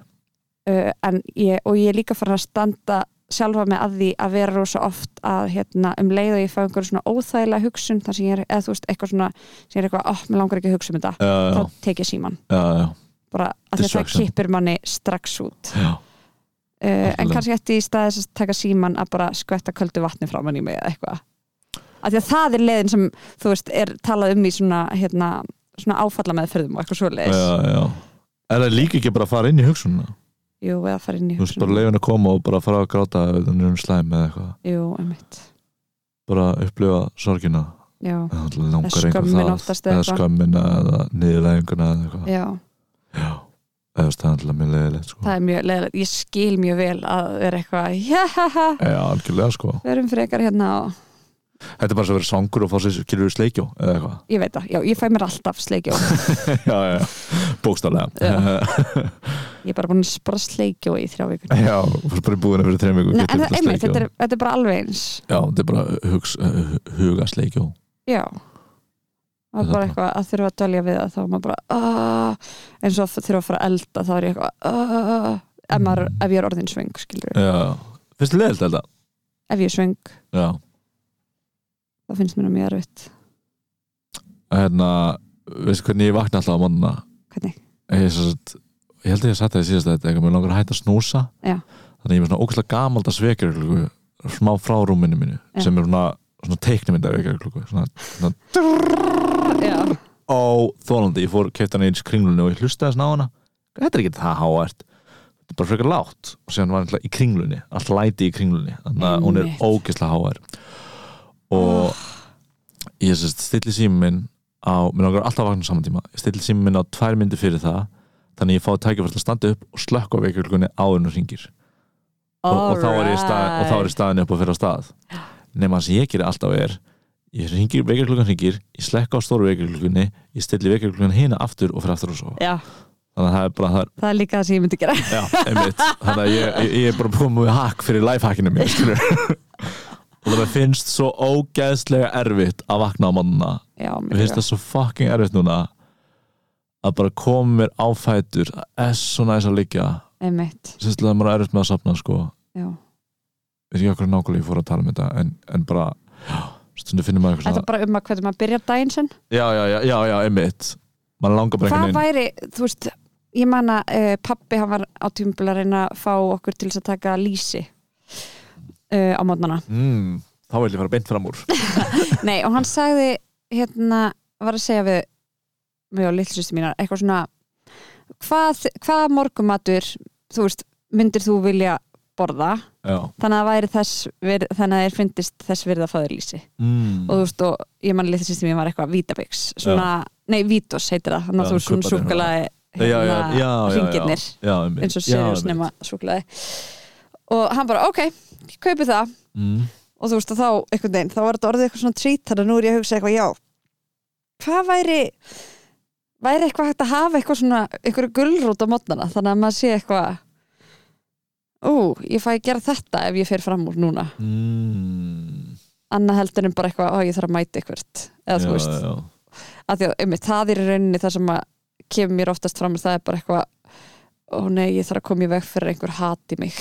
uh, en ég, og ég er líka farin að standa sjálfa með að því að vera rosa oft að hérna, um leið og ég fá einhverjum svona óþægilega hugsun þar sem ég er, eða þú veist, eitthvað svona sem ég er eitthvað, ó, mér langar ekki að hugsa um þetta
já, já,
þá tek ég síman,
já, já,
bara að þetta
Distraction.
kippir manni strax út uh,
já
en
Algjörlega.
kannski eftir í staðis að taka síman að bara skvetta köldu vatni frá manni með eitthvað af því að það er leiðin sem, þú veist, er talað um í svona, hérna, svona áfalla með og eitthvað svoleiðis,
já, já Er það líka ekki bara að fara inn í hugsunna?
jú, eða fara inn í
Þú veist bara
hugsunina.
leifin að koma og bara fara að gráta ef það er um slæm eða eitthvað
jú, einmitt,
bara upplifa sorgina
já
Eða náttúrulega langar
Eða
einhver
skömmin
það,
oftast eða
eða
eitthvað.
skömmina eða niðurlæðinguna eða eitthvað
Já,
Já, eða staðanlega mjög leiðilegt sko.
það er mjög leðilegt Ég skil mjög vel að vera eitthvað Jahaha,
Já, algjörlega sko
verum frekar hérna og
Þetta er bara svo að vera svangur og fá sér kyrur sleikjó eða eitthvað
ég veit það, já, ég fæ mér alltaf sleikjó
Já, já, já, bókstálega
Já. Ég er bara búin að bara sleikjó í þrjá vikur
Já, fórst bara í búðina fyrir þreim viku
Nei, en það, einmitt, þetta er, þetta er bara alveg eins
Já, þetta er bara hugs, uh, huga sleikjó
Já Það er
Þetta
bara
er
eitthvað að þurfa að dölja við það þá er maður bara "Ah", eins og þurfa að fara að elda þá er ég eitthvað "Ah", ef, maður,
Mm.
ef ég er orðin svöng skilur
Já, finnst þið leiðilegt þetta?
ef ég er svöng
Já
þá finnst mér það mjög erfitt
hérna, veistu hvernig ég vakna alltaf á mannuna
Hvernig?
ég, satt, ég held að ég satt það í síðast þetta eitthvað, mér langar að hætta að snúsa
Já.
þannig ég er með svona ógæslega gamald að svekja smá frá rúminu mínu
Já.
sem er svona, svona teiknumynda vekja svona, svona
Já,
á þólandi, ég fór kefti hana eins kringlunni og ég hlustaði svona á hana þetta er ekki það hávært þetta er bara frekar lágt og síðan var hann í kringlunni allt læti í kringlunni þannig að hún er
Einmitt.
ógeðslega hávært og ég sérst stilli síminn minn á, mér langar alltaf að vakna á saman tíma ég stilli síminn minn á tvær myndi fyrir það þannig að ég fái tækifært að standa upp og slökka á veikjulgunni áður en hún ringir og, og, þá er ég stað, og þá er ég staðin upp og fyrir á stað nema það sem ég gerir alltaf er ég ringir, vekjarklokkan hringir ég slekka á stóru vekjarklokkunni ég stilli vekjarklokkan hina aftur og fyrir aftur og sofa
Já,
þannig að það er bara það er,
það er líka það sem ég myndi gera
já, einmitt þannig að ég, ég, ég er bara komið með hakk fyrir lifehackinu mér skilur og það mér finnst svo ógeðslega erfitt að vakna á mannuna
Já,
mér finnst það svo fucking erfitt núna að bara koma mér á fætur það er svo næs að liggja
Einmitt,
sérstaklega að maður er erfitt með að safna sko
já
veit ekki okkur nákvæmlega ég fór að tala um þetta en, en bara, já, stundu finnum maður eitthvað
Þetta
svona,
er bara um að hvernig maður byrjar daginn sinn
já, já, já, já, já, einmitt maður langar bara
Hvað
einhvern veginn
væri, þú veist ég man að uh, pappi hann var á tímubil að reyna að fá okkur til þess að taka lýsi uh, á mótnana
mm, þá vil ég fara beint fram úr
Nei, og hann sagði hérna, var að segja við mjög lillsustu mínar, eitthvað svona hvað, hvað morgumatur þú veist, myndir þú vilja borða
já
þannig að það væri þess vir, þannig að þeir fyndist þess virða fæðurlýsi og þú
mm.
veist og ég manni litið sýstum ég var eitthvað vítabix svona, nei vítos heitir það þannig
Já,
að þú er svona
kubbadinn,
súkulaði
já, já, já, já, já,
hérna hringirnir
já, einmitt.
eins og
Já,
seriðus
einmitt.
nema súkulaði og hann bara ok, ég kaupi það
mm.
og þú veist að þá einhvern veginn, þá var þetta orðið eitthvað svona trít þannig að nú er ég að hugsa eitthvað já hvað væri væri eitthvað hægt að hafa eitthvað svona einhverju gulrút á mótnana þannig að maður sé eitthvað ú, ég fæ að gera þetta ef ég fer fram úr núna
Mm.
annað heldur en bara eitthvað, ó ég þarf að mæta eitthvað eða þú veist,
já,
að því að um, það er í rauninni það sem að kemur mér oftast fram það er bara eitthvað ó nei, ég þarf að koma í veg fyrir að einhver hati mig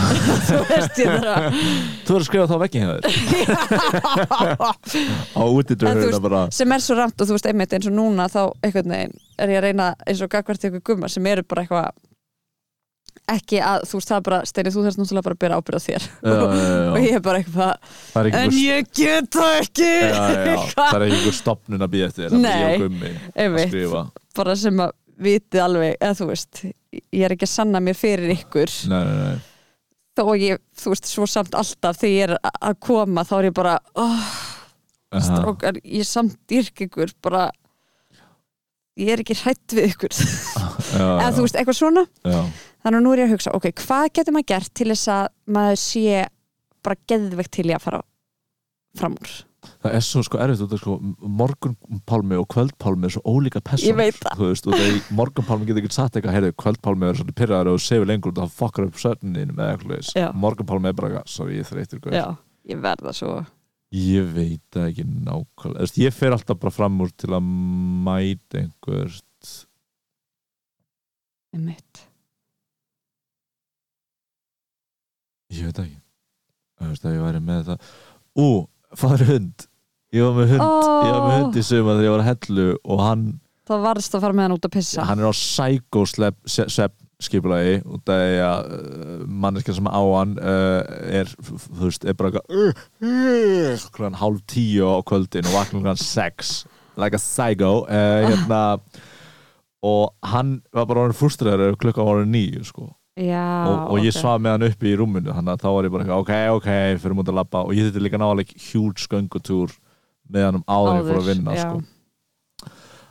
þú veist, ég þarf að
Þú verður að skrifa þá veginn hjá þér Á útidröður
En þú
hérna bara
sem er svo ramt og þú veist einmitt eins og núna þá einhvern veginn er ég að reyna eins og gagvart ykkur gumma sem eru bara eitthvað ekki að þú veist það er bara Steini þú þarfst náttúrulega bara að bera ábyrða þér
Já, já, já,
og
já.
ég er bara eitthvað
Það er ekki
en
einhver-
ég get það ekki
Já, já, já.
Eitthvað.
Það er ekki einhver stopnun að býja eftir Það er
Nei.
ég og gummi að
einmitt,
skrifa
bara sem að vitið alveg eða þú veist, ég er ekki að sanna mér fyrir ykkur
Nei, nei, nei
þó að ég, þú veist, svo samt alltaf þegar ég er a- að koma þá er ég bara oh,
Aha.
strókar, ég samt dyrk ykkur bara ég er ekki hrætt við ykkur
Já,
eða þú
já,
veist, eitthvað svona
já.
þannig að nú er ég að hugsa, ok, hvað getur maður gert til þess að maður sé bara geðvegt til í að fara fram úr
Það er svo sko erfitt út af sko morgunpálmi og kvöldpálmi er svo ólíka personur.
Ég veit það.
Þú veist, og það er morgunpálmi getur ekki sagt eitthvað, heyrðu, kvöldpálmi er svolítið pyrraður og þú sefur lengur og það fokkar upp sötnininu með eitthvað leis.
Já.
Morgunpálmi er bara, eitthvað, sorry, ég þreytir guð.
já, ég verða svo
Ég veit það ekki nákvæmlega. Þú veist, ég fer alltaf bara fram úr til að mæta einhver.
einmitt
Ég veit það ekki. Þú veist, að ég væri með það. Ú, faður hund. Ég var með hund. Ég var með
Ó,
hund í suma þegar ég var að hellu og hann
þá varst að fara með hann út að pissa
hann er á psycho-skipulagi og það er að manneskja sem á hann uh, er, f- f- þú veist, er bara eitthvað, uh, uh, klukkan hálf tíu á kvöldin og vaknar klukkan sex like a psycho uh, hérna, og hann var bara orðin frustraður ef klukkan var orðin níu sko.
já,
og, og ég
Ah, ok.
svaf með hann uppi í rúminu þannig að þá var ég bara eitthvað, ok, ok, fyrir mútið að labba og ég þetta líka náðaleg huge göngutúr með hann um áður en ég fór að
Áður,
vinna
já.
sko.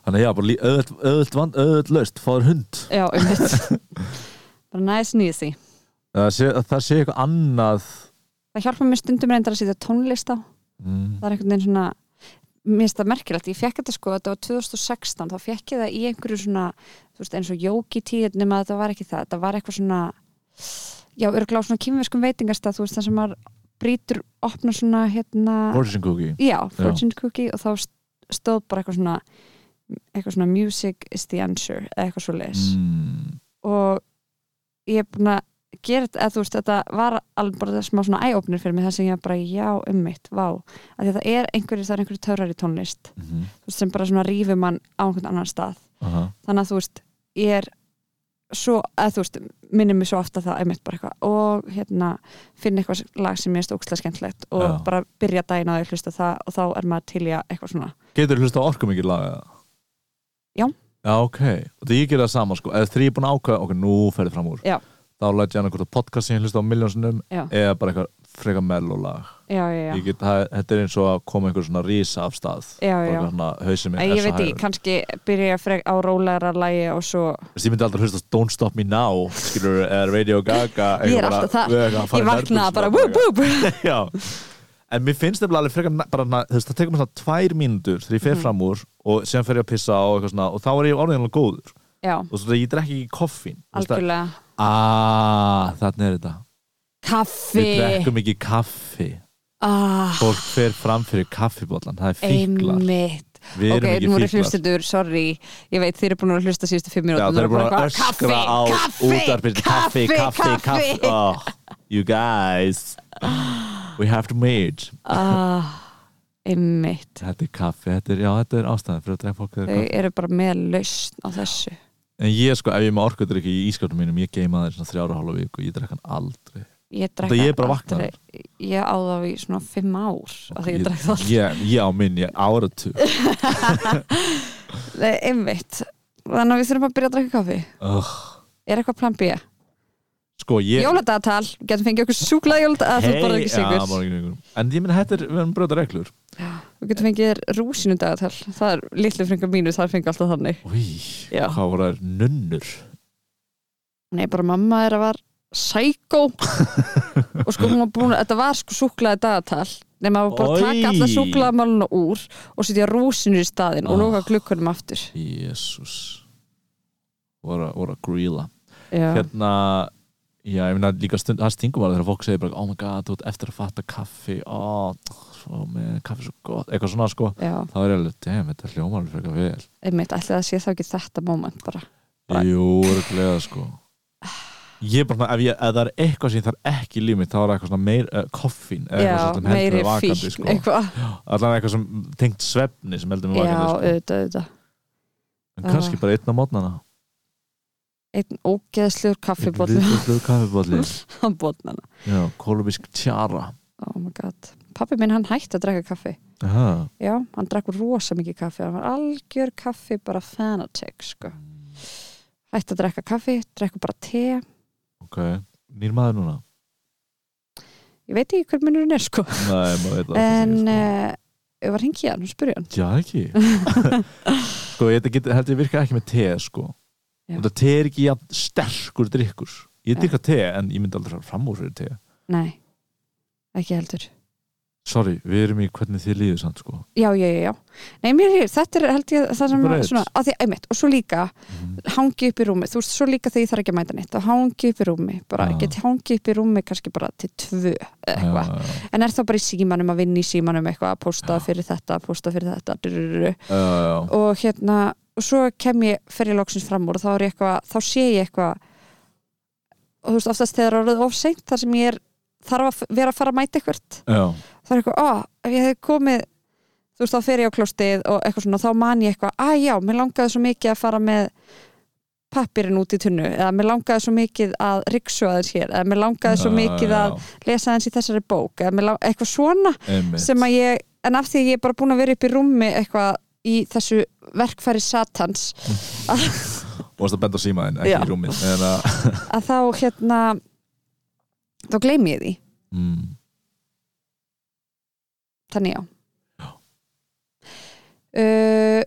þannig að já, bara lí- auðvelt auðvelt vand- auðvelt laust, fáður hund
já, einmitt bara næs nýðið því
það sé, að það sé eitthvað annað
það hjálpa mér stundum reyndar að setja tónlist á
mm.
það er einhvern veginn svona mér finnst það merkilegt, ég fekk þetta sko þetta var 2016, þá fekk ég það í einhverju svona þú veist, eins og jóki tíð nema að þetta var ekki það, þetta var eitthvað svona já, örglá svona kýmverskum veitingastað þú veist, það sem maður brýtur opna svona, hérna
Origin Cookie
já, fortune cookie og þá st- stóð bara eitthvað svona eitthvað svona music is the answer eða eitthvað svo leis
mm.
og ég er búin að gera þetta, eða þú veist, þetta var alveg bara smá svona æjópnir fyrir mig það sem ég bara, já, ummitt, vá af því að það er einhverju, það er einhverju törar í tónlist
Mm -hmm.
þú veist, sem bara svona rífur mann á einhvern annan stað þannig að þú veist, ég er svo, eða þú veist, minnir mig svo ofta það einmitt bara eitthvað og hérna finn eitthvað lag sem ég er stókslega skemmtlegt og
Já.
bara byrja daginn á því að hlusta það og þá er maður til í að eitthvað svona
getur hlusta orku mikið laga
Já.
já, ok, og það ég gera það sama sko eða því ég er búin að ákveða, ok, nú ferði fram úr
Já.
þá læt ég hann eitthvað podcast sem ég hlusta á miljónsinnum
Já.
eða bara eitthvað freka mellólag
já, já, já,
Ég get, það, þetta er eins og að koma einhver svona rísa af stað
já,
bara
já,
eitthvað svona hausið
Æ,
mér
ég veit ekki, kannski byrja ég frek á rólegra lægi og svo
ég myndi aldrei hlusta Don't Stop Me Now skilur, eða Radio Gaga
Ég
eitthvað
er
bara-
alltaf það.
við eitthvað að fara
ég
í
vaknaði
nærbuxur og
bara bú, bú, bú.
Já, en mér finnst þetta alveg frekar na- bara, na- þú veist, það tekur mér svona tvær mínútur þegar ég fer
Mhm.
fram úr og síðan fer ég að pissa og eitthvað svona og þá er ég orðinlega góður
Já,
og svo ég drekki ekki koffín Þú veist að-
algjörlega
Ah, þarna er þetta Við
Kaffi
drekkum ekki kaffi
ah,
Fólk fer fram fyrir kaffibollan Það er fíklar
Einmitt
Við erum
Ok, nú eru
ekki fíklar
hlustendur, sorry Ég veit, þeir eru búin að hlusta síðustu fimm
Já,
mínútur
það er bara að
Kaffi,
öskra á
kaffi,
útarpið Kaffi, kaffi, kaffi oh, You guys We have to meet
ah, Einmitt
Þetta er kaffi, þetta er, já, þetta er ástæðan fyrir að drekka fólk þegar
Þau eru bara með lausn á þessu
En ég sko, ef ég er með orkudrykki í ískapnum mínum, ég geima það í svona þrjára og hálfa viku, ég drekka hann aldrei.
Ég drekka
Þetta ég er bara
aldrei- Ég á það í svona fimm ár af því ég drekka það aldrei.
Ég, ég á minn, ég áratu.
Nei, Einmitt Þannig að við þurfum að byrja að drekka kaffi
oh,
Er eitthvað plan B?
sko ég
Jóladagatal, getum fengið okkur súklað jóladagatal hey, þú borðar ekki
já,
sigur,
borðar ekki sykur. en ég minna, þetta er, við erum bröða reglur
við getum fengið þér rúsinudagatal það er litlu fringar mínu, það fengi alltaf þannig
Új,
Já.
hvað voru þær nunnur
Nei, bara mamma er að var sækó og sko hún var búin, þetta var sko súklaði dagatal nema að bara
Oj.
taka alla súklaðamáluna úr og setja rúsinu í staðinn og
Ah.
loka glukkunum aftur
jésús voru, voru að gríla
Já,
hérna, já, ég minna líka stund það stingum var þegar fólk segir bara oh my god, þú ert eftir að fatta kaffi oh, oh man, kaffi er svo gott, eitthvað svona sko
já,
þá er ég alveg, damn, þetta hljómar alveg frekar vel
einmitt, ætli það sé þá ekki þetta moment bara Bara-
Jú, örglega sko Ég er bara svona, ef, ég, ef það er eitthvað sem ég þarf ekki í líf mitt, þá er það eitthvað svona meir uh, koffín eða
Já,
eitthvað sem heldur
meiri
mig vakandi
fíkn
sko.
eitthvað,
allan eitthvað sem tengt svefni sem heldur
já,
mig vakandi sko.
auðvitað, auðvitað
en kannski bara einn á mótnana
einn ógeðslegur kaffibóll
viðbjöðu kaffibolli
á bóllana
Já, kolumbísk tjara
oh my god, pappi minn hann hætti að drekka kaffi
Aha.
já, hann drakk rosa mikið kaffi hann var algjör kaffi bara fanatic sko. hætti að drekka kaffi, drekka bara te
Ok, nýr maður núna
ég veit ekki hver munurinn er sko
Nei, maður veit það sko.
en
ekki,
eh, ég var hengið hann og spurði hann
sko. Já, ekki Sko, ég get, held ég virka ekki með te sko.
Já.
Þetta te er ekki jafn sterkur drikkur Ég
Já.
drikka te, en ég myndi aldrei fara fram úr fyrir te
nei, ekki heldur
sorry, við erum í hvernig þið líður samt sko
já, já, já, já. Nei, mér, er- þetta er held ég það sem
Bara eitt.
svona, að því, einmitt, og svo líka
Mhm.
hangi upp í rúmi, þú veist, svo líka þegar ég þarf ekki að mæta neitt þá hangi upp í rúmi, bara,
Já.
get hangi upp í rúmi kannski bara til tvö eða eitthvað
Já,
en er þá bara í símanum að vinna í símanum eitthvað að posta fyrir þetta, posta fyrir þetta drurururu.
já, já.
og hérna og svo kem ég fyrir loksins fram úr og þá er ég eitthvað, þá sé ég eitthvað og þú veist oftast þegar orðið of seint þar sem ég er, þarf að f- vera að fara að mæta eitthvað,
já,
þá er eitthvað, á, ef ég hef komið þú veist, þá fer ég á klostið og eitthvað svona, þá man ég eitthvað, að já, mér langaði svo mikið að fara með pappirinn út í tunnu eða mér langaði svo mikið að riksu aðeins hér, eða mér langaði svo
Já,
mikið
já,
að lesa aðeins í þessari bók eða mig lang- eitthvað svona
einmitt.
sem að ég, en af því að ég er bara búin að vera upp í rúmi eitthvað í þessu verkfæri satans
og það benda á símaðin, ekki
Já.
í rúmið en að
að þá hérna þá gleymi ég því,
mm,
þannig já uh,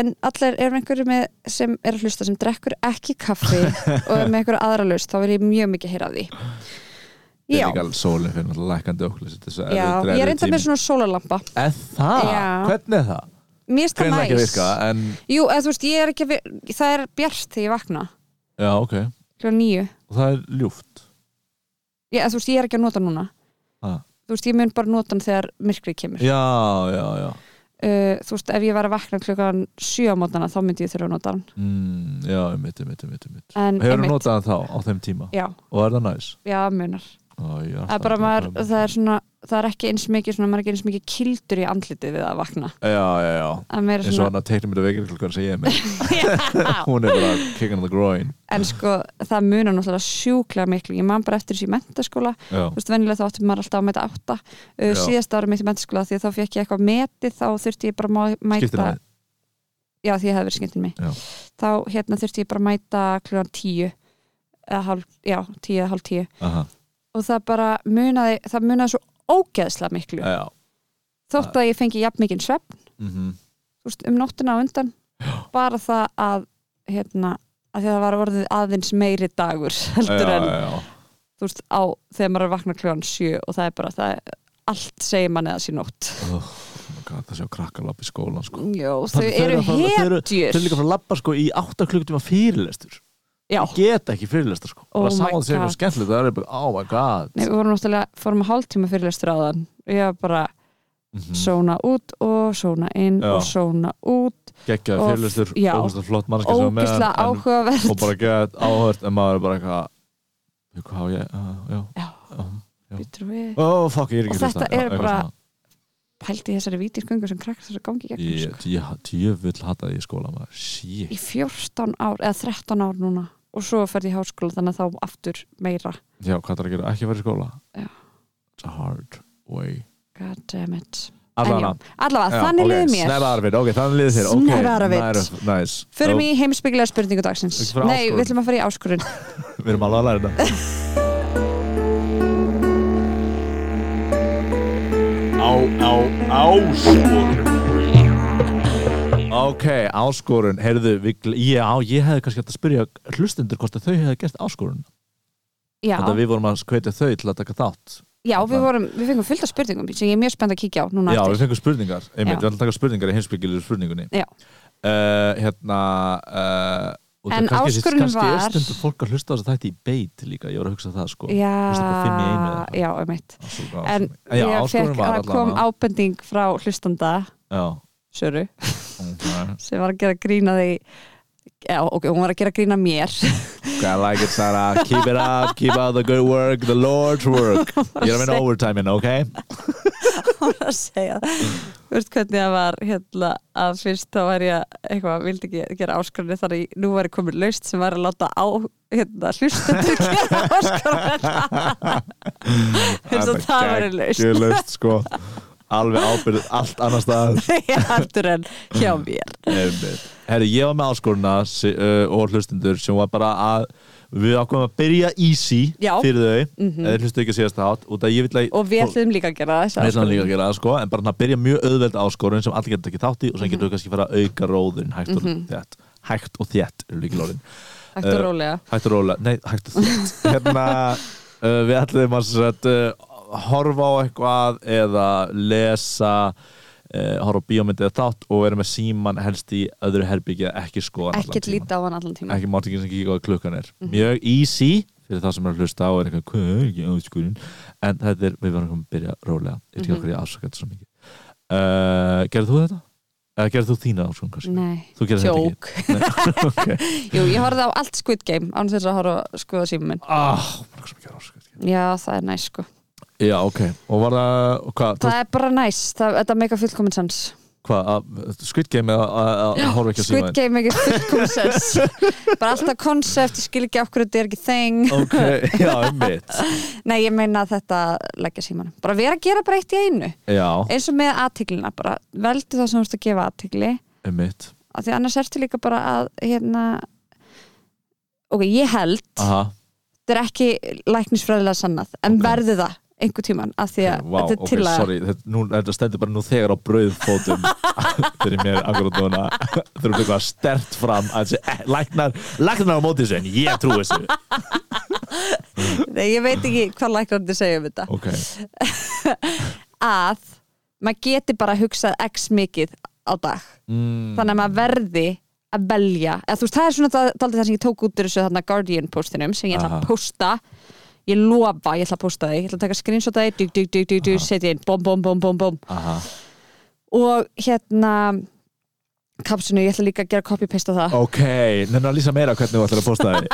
en allir erum einhverju með sem er að hlusta sem drekkur ekki kaffi og er með einhverju aðra laust þá er ég mjög mikið að heyra af því
það er
já,
líka alveg sólinn fyrir náttúrulega lækandi okkur þess að
já ég er enda með svona sólarlampa
en það,
Já.
hvernig er það?
mér er það
hvernig ekki að
næs
virka, en
jú, eða þú veist, ég er ekki að vi- það er bjart þegar ég vakna
já, ok,
kljóðan nýju
og það er ljúft
Já, þú veist, ég er ekki að nota hann núna
Ha.
Þú veist, ég mun bara nota hann þegar myrkrið kemur uh,
já, já, já
Þú veist, ef ég var að vakna klukkan sjö á mótana þá myndi ég þurfa að nota hann
mm, já, mitt, mitt, mitt, mitt
En
hefur þú
einmitt-
notað hann þá á þeim tíma
Já,
og er það næs?
já, munar
Ó, já,
Það er bara maður,
um-
það er svona það er ekki eins mikið, svona, maður er ekki eins mikið kildur í andlitið við að vakna
já, já, já,
Það er meira
eins og
svona,
hann að teiknum þetta vekirklokkan sem ég er með
Já,
hún er bara kicking in the groin
en sko það munar náttúrulega sjúklega miklu ég man bara eftir þessu í mentaskóla
já,
þú veist, venjulega þá áttum maður alltaf að mæta átta uh,
Já.
síðasta ára mitt í mentaskóla því að þá fekk ég eitthvað metið þá þurfti ég bara að má- mæta
skiptir hann
já því ég hefði verið skemmtinn mig
Já.
þá hérna þurfti ég bara að mæta kljóðan tíu eða hálf, já, tíu eða hálf tíu
Aha,
og það bara munaði, það munaði svo ógeðslega miklu,
já,
þótt að ég fengi jafn mikinn svepp,
mhm,
þú veist, um nóttina á undan bara það að hérna, að því að það var orðið aðeins meiri dagur,
já,
heldur en
já, Oh já.
þú veist, á þegar maður er að vakna kljóðan sjö og það er bara, það er allt segir manni að sé nótt
Oh, my God, það séu krakkalapp í skólan sko.
Jó, þau
Pabbi, þau
eru
eru að fara- þau eru-
hetjur
þau er líka frá labba sko, í 8 klukkutíma fyrirlestur
Já,
geta ekki fyrirlestur sko. það
Oh
er
my
saman að segja
God.
eitthvað skemmtilegt það er bara, oh my god
Nei, við vorum náttúrulega, fórum að hálftíma fyrirlestur á þann ég var bara
Mhm.
sóna út og sóna inn
Já.
og sóna út
geggjaði
og-
fyrirlestur,
já.
ógæslega flott mannskja sem var með hann,
ógislega
en-
áhugavert
og bara geggjaði áhört en maður er bara eitthvað "Jú, hvað á ég, uh, já,
Já.
já
býtur við
oh fuck, ég er
Og
ekki
þetta
hlusta. Já,
er
eitthvað
bara-
svona.
pældi í þessari vítisgöngu sem krakkar þessari gangi í gegnum
ég,
sko.
ég, ég vil hata því í skóla maður, shit
í 14 ár eða 13 ár núna og svo ferði í háskóla þannig að þá aftur meira
Já, hvað það er að gera? Ekki að vera í skóla?
Já.
It's a hard way
god damn it
allavega
allavega, þannig liði mér
Snæra Arvid, ok, þannig liði þér ok,
Snæva Arvid.
nær- Nice
Förum
Ó,
í heimsbyggilega spurningu dagsins
Ekki fara
Nei,
áskorun.
við ætlum að fara í áskorun
Við erum alveg að læra þetta Á, á, sko. áskorun
Ok, áskorun, heyrðu við, gl- ég, á, ég hefði kannski hægt að spyrja hlustundur hvort að þau hefði gert áskorun
Já,
Þannig að við vorum að hvetja þau til að taka þátt
já við, vorum, við fengum fullt af spurningum sem ég er mjög spennt að kíkja á núna
Já,
aftur.
við fengum spurningar, einmitt,
Já.
við ætlum að taka spurningar í heimsbyggilegur spurningunni
Já.
Eh, Hérna uh,
En áskorunin var-
Kannski stundur fólk að hlusta á þess að þetta í beit líka, ég var að hugsa það sko Hlusta bara fimm í einu eða eitthvað.
Já, já, um eitt
Svo gaf-
En
já,
ég
áskorunin
fekk
var
að kom
allavega.
ábending frá hlustanda
Já,
Söru,
ok.
sem var að gera grína því Já, ok, hún var að gera grína mér
Okay, I like it, Sarah. Keep it up. Keep out the good work. The Lord's work. You're having overtime hérna, in, okay?
að segja það Þú veist hvernig það var hérna, að fyrst þá var ég eitthvað, vildi ekki gera áskorunni þar í nú var ég komin laust sem var að láta á hérna, hlustendur gera áskorunni eins og það var laust
Ég laust, sko. Alveg ábyrð allt annar stað.
heldur en hjá mér
Herri, ég var með áskoruna si- uh, og hlustundur sem var bara að við ákveðum að byrja easy
Já. Mhm.
fyrir þau. Mm -hmm. Eða hlustu ekki að síðast þátt. Út að ég vil að...
og við ætlum líka að gera þess
Við ætlum líka að gera það sko, en bara svona að byrja mjög auðveld áskorun sem allir getur ekki þátt í og svo
Mhm.
getur við kannski fara að auka róðurinn hægt og þétt. Hægt og þétt eru líkilorðin.
hægt og
Eh,
rólega
hægt og róla, nei, hægt og þétt hérna, uh, við ætlum að sem sagt, uh, horfa á eitthvað eða lesa uh, horfa á bíómyndið eða þátt og vera með síman helst í öðru herbyggja ekki skoðan
ekkert líta Mhm. á hann allan tíma
ekki mátt ekki sem kíka á hvað klukkan er mjög easy fyrir það sem er að hlusta á er eitthvað, hvað er ekki áskurinn en þetta er, við verðum að byrja rólega ég
Mhm.
veit ekki okkur ég afsaka þetta svo mikið uh, gerðu þú þetta? eða gerðu þú þína áskurinn kannski?
nei,
þú gerðu þetta ekki?
tjók jú, ég horfði á allt Squid Game án þess að horfa að skoða símum minn
ah, mér er svo mikið áskurinn
já, það er næs sko
Já, ok, og var það, og hvað,
það er bara næs, það, þetta meika fullkominn sans
hvað, að- Squid Game eða að- að- að horfa ekki að síma
Squid Game meika fullkominn sans bara alltaf konsept, ég skil ekki af hverju þetta er ekki þeng
Ok, já, einmitt
nei, ég meina þetta leggja símanum bara vera að gera bara eitt í einu
Já,
eins og með aðtiklina bara veldu það sem þú ert að gefa aðtikli
einmitt
af því annars ertu líka bara að hérna ok, ég held,
Aha,
þetta er ekki læknisfræðilega sannað, en
Ok.
verði það einhver tíman, af því að
vá,
þetta er
ok,
til að
sorry þetta, nú, þetta stendur bara nú þegar á brauðfótum fyrir mér akkurat núna þurfum við eitthvað stert fram að þessi, eh, læknar, læknar á móti þessu en ég trú þessu
Nei, ég veit ekki hvað læknandi segja um þetta
Ok,
að maður geti bara hugsað x mikið á dag
mm,
þannig að maður verði að velja eða þú veist, það er svona það, það, það sem ég tók út úr þessu þarna Guardian postinum sem ég ætla
Aha.
að posta ég lofa, ég ætla að posta þig ég ætla að taka screenshot af þig, dug, dug, dug, dug, dug setja inn, bom, bom, bom, bom, bom
aha
og hérna kapsunu, ég ætla líka að gera copy-paste á það
Ok, nefnir að lýsa meira hvernig þú ætlar að posta því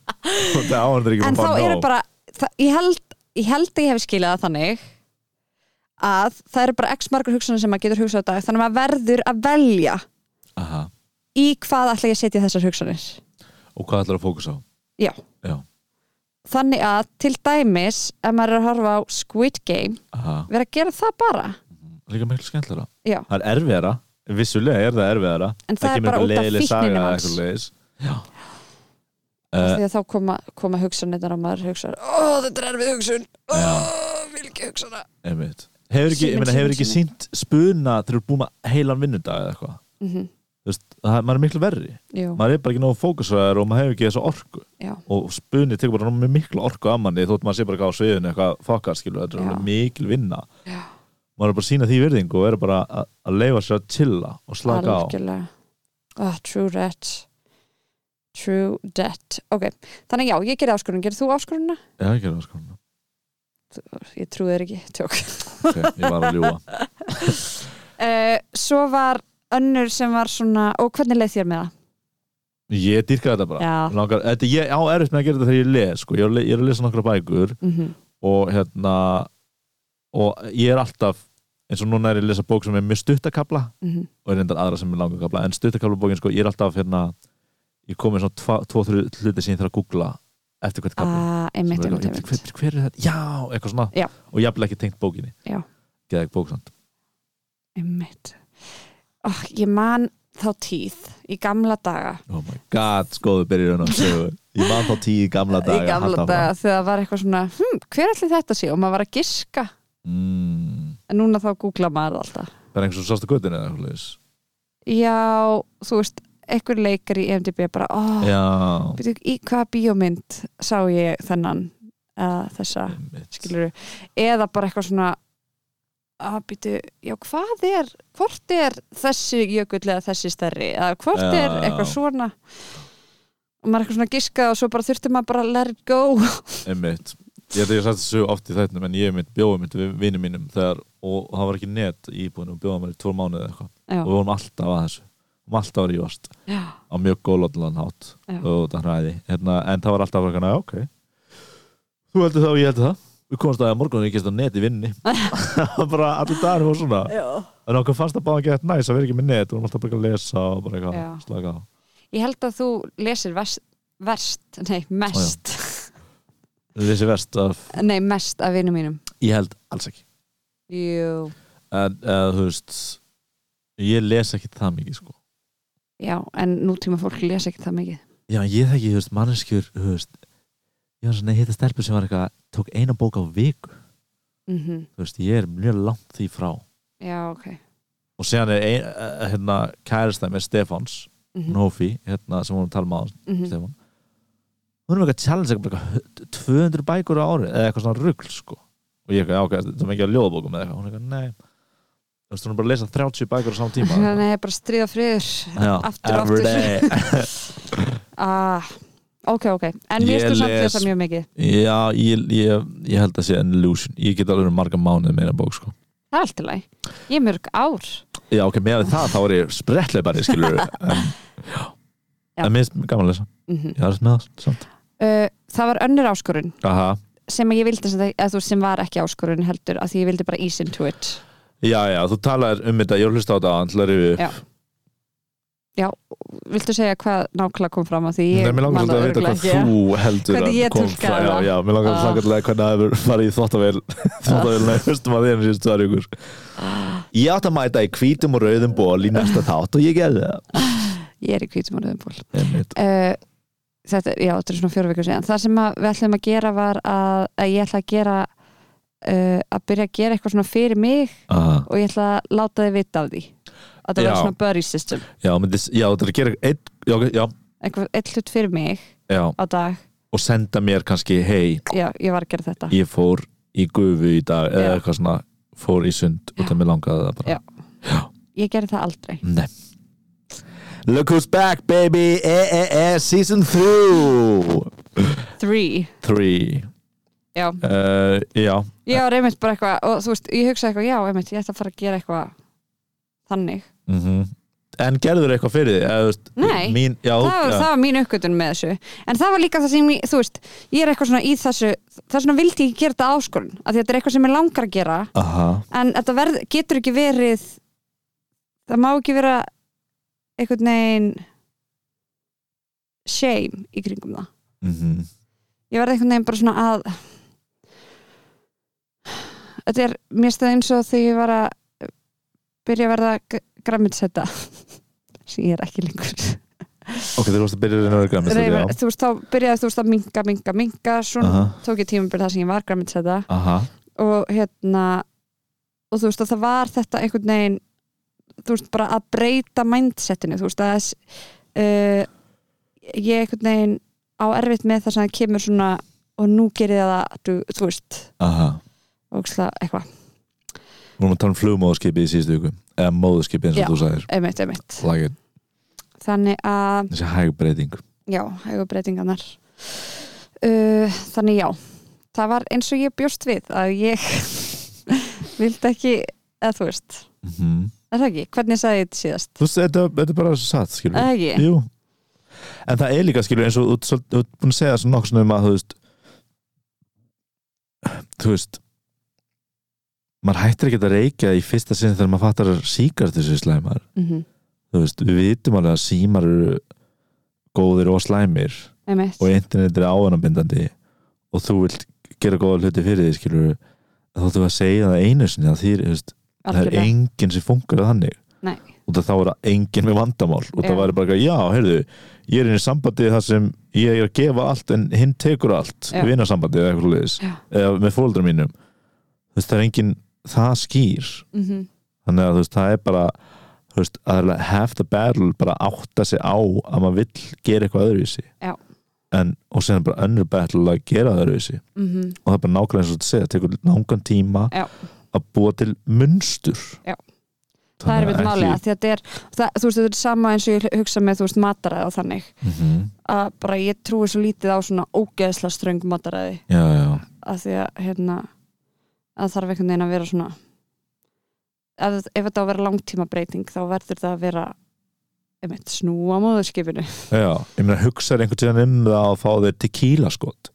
Það áhendur ekki
en þá
að fá
eru
nóg.
bara það, ég, held, ég held að ég hef skilið það þannig að það eru bara x margur hugsanir sem maður getur hugsað á dag þannig að maður verður að velja
Aha,
í hvað ætla ég að setja þessar hugsanir
og hvað ætlar að fókusa á?
já,
Já,
þannig að til dæmis ef maður er að horfa á Squid Game
aha
vera að gera það bara
líka miklu skemmtilega
já,
það er erfiðara, vissulega er það erfiðara
En það er
kemur
bara
einhver
út af
leiðileg
fíkninni
saga eða
manns.
eitthvað Eh, leiðis.
af því að þá koma, koma hugsanirnar og maður hugsar, ó þetta er erfið hugsun ó, vil ekki hugsa það
Einmitt. hefur ekki,
Síminn,
ég meina, hefur
síminn,
ekki sínt spuna þegar þú er búin með heilan vinnudag eða eitthvað
Mhm.
Þú veist, það, maður er miklu verri
Jú,
maður er bara ekki nógu fókusraður og maður hefur ekki þessa orku
já,
og spunni tekur bara nógu miklu orku af manni þótt maður sé bara ekki á sviðinu eitthvað fokkar skilur, þetta er
Já.
alveg mikil vinna
Já.
maður er bara að sína því virðingu og er bara að, að leifa sér að chilla og slaka á
algjörlega oh, true that true that, ok þannig já, ég gerði áskorun, gerði þú áskorunna?
Já, ég gerði það sko.
ég trúi þér ekki, tjók
Ok, ég var að ljúga
uh, svo var önnur sem var svona og hvernig leið þér með það?
Ég dýrka þetta bara
já,
langar, þetta, ég á erfitt með að gera þetta þegar ég les sko. ég, er að le- ég er að lesa nokkra bækur
mhm
og hérna og ég er alltaf eins og núna er ég að lesa bók sem er mjög stuttakabla
mhm.
og er reyndar aðra sem er langa kabla en stuttakabla bókin, sko, ég er alltaf hérna ég kom með svona tva- tvo, þrjú hluti sem ég þarf að googla eftir hvert kabla
Ah, einmitt,
Sem er
einmitt,
eitthvað,
einmitt
hver, hver er þetta? Já, eitthvað svona
Já.
og jafnvel ekki tengt bókinni
Já.
Geðveik bók samt
einmitt oh, ég man þá tíð í gamla daga
oh my
God, skoðu
hérna
byrjun á sögu Ég man þá tíu í gamla daga
í gamla
halda áfram.
daga þegar það var eitthvað svona hm, hver ætli þetta sé og maður var að giska
mm.
en núna þá googla maður alltaf
Það er einhvers og sástu göttinu eða eitthvað leis
já, þú veist, einhver leikar í MDB bara, ó,
Já
byrju, í hvaða bíómynd sá ég þennan eða þessa,
Einmitt.
skilur eða bara eitthvað svona að byrju, já, hvað er hvort er þessi jökull eða þessi stærri, eða hvort
Já.
er eitthvað svona og maður eitthvað svona giskað og svo bara þurfti maður bara að let it go
Einmitt Ég held að ég satt þessu oft í þættinum en ég mitt bjóði mitt við vinnum mínum þegar, og það var ekki net í íbúinu og bjóði mér í tvo mánuði eða eitthvað og við
já,
vorum alltaf að þessu við vorum alltaf að rífast
já,
á mjög góðlóðlan hátt
Já.
og það hræði hérna, en það var alltaf að vera ok þú heldur það og ég heldur það við komumst að því að morgun ég gist á net í vinninni bara allir dagar og svona
já.
en okkur fannst það bara að geta næs að vera ekki með net við vorum alltaf bara að lesa og bara
Já.
eitthvað slaka á
Ég held að þú lesir vest, verst, nei, mest
þessi vest af
nei, mest af vinum mínum
ég held alls ekki
Jú,
en uh, þú veist ég les ekki það mikið sko
já, en nútíma fólk les ekki það mikið
Já, ég þekki, þú veist, manneskjur, þú veist ég var svona hitta stelpur sem var eitthvað tók eina bók á viku,
mm
þú veist, ég er mjög langt því frá
Já, ok
og síðan er ein, eh, hérna kærasta með Stefáns,
mm
mm. Nófi hérna sem hún tala með á
mm
Stefán hún er með eitthvað challenge eitthvað bara eitthvað 200 bækur á ári eða eitthvað svona rugl sko og ég eitthvað, já, ok, það er ekki að ljóðbókum eða eitthvað hún er eitthvað, nei þú veist, hún er bara að lesa 30 bækur á saman tíma
Nei, bara stríða friður
já,
aftur og
every
aftur.
day.
ah, Ok, ok,
Ég
en mér stu samt
les-
þessa mjög mikið
já, ég, ég, ég held að sé an illusion ég get alveg verið marga mánuð meina bók sko
Það er allt í lagi, ég er mörg ár
Já, ok, með við það þá er ég sprettleipari, skilur en,
Já.
en mér er gaman að lesa
mm
Ég er alveg með það, samt
uh, Það var önnur áskorun
Aha.
sem að ég vildi, sem, það, þú, veist, sem var ekki áskorun heldur, að því ég vildi bara ease into it
Já, já, þú talar um þetta, ég hlusta á þetta hann til að rifja upp.
Já. Viltu segja hvað nákvæmlega kom fram að því ég
Nei, mér langar
man
svolítið að vita
það örugglega
hvað
ekki.
þú heldur
Hvernig
að
ég
kom
túlkaði
frá-
það.
Já, já, mér langar
Ah.
svolítið að vita hvernig það hefur farið í þvottavél þvottavélna í höstum að þeirnum síðust tvær ykkur
Ah.
Ég átt að mæta í hvítum og rauðum ból í næsta þátt og ég gerði það
Ég er í kvítum og rauðum ból
Einmitt.
uh, þetta, já, þetta er svona fjóra vikur síðan það sem að við ætlum að gera var að, að ég ætla að gera uh, að byrja að gera eitthvað svona fyrir mig
Aha.
og ég ætla að láta þið vita af því að það
Já.
var svona buddy system
Já, myndi, já, þetta er að gera einn já, ok, já,
eitthvað, eitt hlut fyrir mig
já,
á dag
og senda mér kannski hei,
já, ég var að gera þetta
ég fór í gufu í dag eða
Já.
eitthvað svona, fór í sund út af mér langaði það bara
Já. ég gerði það aldrei
Nei. Look who's back baby e -e -e, season 3
three,
3
já,
uh, Já,
ég var einmitt bara eitthvað og þú veist, ég hugsaði eitthvað, já, einmitt, ég ætla að fara að gera eitthvað þannig
mhm En gerður eitthvað fyrir því? Eða, þú veist,
Nei.
mín, já,
það var,
já.
það var mín uppgötun með þessu en það var líka það sem, ég, þú veist ég er eitthvað svona í þessu, það er svona vildi ég ekki gera þetta áskorun, af því að þetta er eitthvað sem ég langar að gera
Aha,
en þetta verð, getur ekki verið það má ekki vera einhvern veginn shame í kringum það
mhm
ég verði einhvern veginn bara svona að þetta er mér stæði eins og þegar ég var að byrja að verða græmitsetta sem ég er ekki lengur
Ok, þú varst að byrja reyna örgæmi
Reifar, þú veist, þá byrjaði þú veist að minga, minga, minga svona
Aha.
tók ég tímabil það sem ég var græmint þetta
Aha,
og hérna og þú veist að það var þetta einhvern veginn þú veist bara að breyta mindsetinu, þú veist að þess, uh, ég einhvern veginn á erfitt með það sem það kemur svona og nú gerir það þú, þú veist,
aha
og eitthvað
Við vorum að tala um flugmóðurskipið í síðustu viku Eða móðurskipið eins og
Já.
þú sagðir
einmitt, einmitt,
Like it,
þannig að
þessi hægbreyting
já, hægur breytingarnar uh, þannig já það var eins og ég bjóst við að ég vildi ekki eða þú veist,
mm
er það ekki hvernig sagði ég þetta síðast,
Þú veist, þetta, þetta er bara satt, skilur
er það ekki
Jú. En það er líka skilur eins og þú ert svol- þú ert búin að segja svona nokkuð svona um að þú veist þú veist maður hættir ekki að reykja í fyrsta sinn þegar maður fattar að síkart þessu slæmar
mm
þú veist, við vitum alveg að símar eru góðir og slæmir
einmitt,
og internet er áanabindandi og þú vilt gera góða hluti fyrir því skilur þá þú að segja það einu sinni að þýr, þú veist það er
algjörlega.
enginn sem funkar þannig
Nei.
og þá er það enginn með vandamál og það
Já.
væri bara, eitthvað, já, heyrðu ég er inn í sambandi þar sem ég er að gefa allt en hinn tekur allt,
Já.
vinasambandi eða eitthvað leðis,
Já.
eða með fóldra mínum þú veist, það er enginn það skýr,
Mhm.
þannig að þú veist, það er bara þú veist, að það er half the battle bara átta sig á að maður vill gera eitthvað öðruvísi
Já.
en, og sen er bara önnur battle að gera það öðruvísi
Mhm.
og það er bara nákvæmlega eins og þetta segja, það tekur langan tíma
Já.
að búa til munstur
Já. það er við máli að því að þetta er það, þú veist þetta er sama eins og ég hugsa með þú veist mataræði og þannig
mm
að bara ég trúi svo lítið á svona ógeðsla ströng mataræði
já, já,
að því að hérna að þarf einhvern veginn að vera svona að, ef þetta á að vera langtíma breyting þá verður það að vera einmitt snúa móðurskipinu
já, ég meina hugsaði einhvern tíðan um það að fá þér tequila skot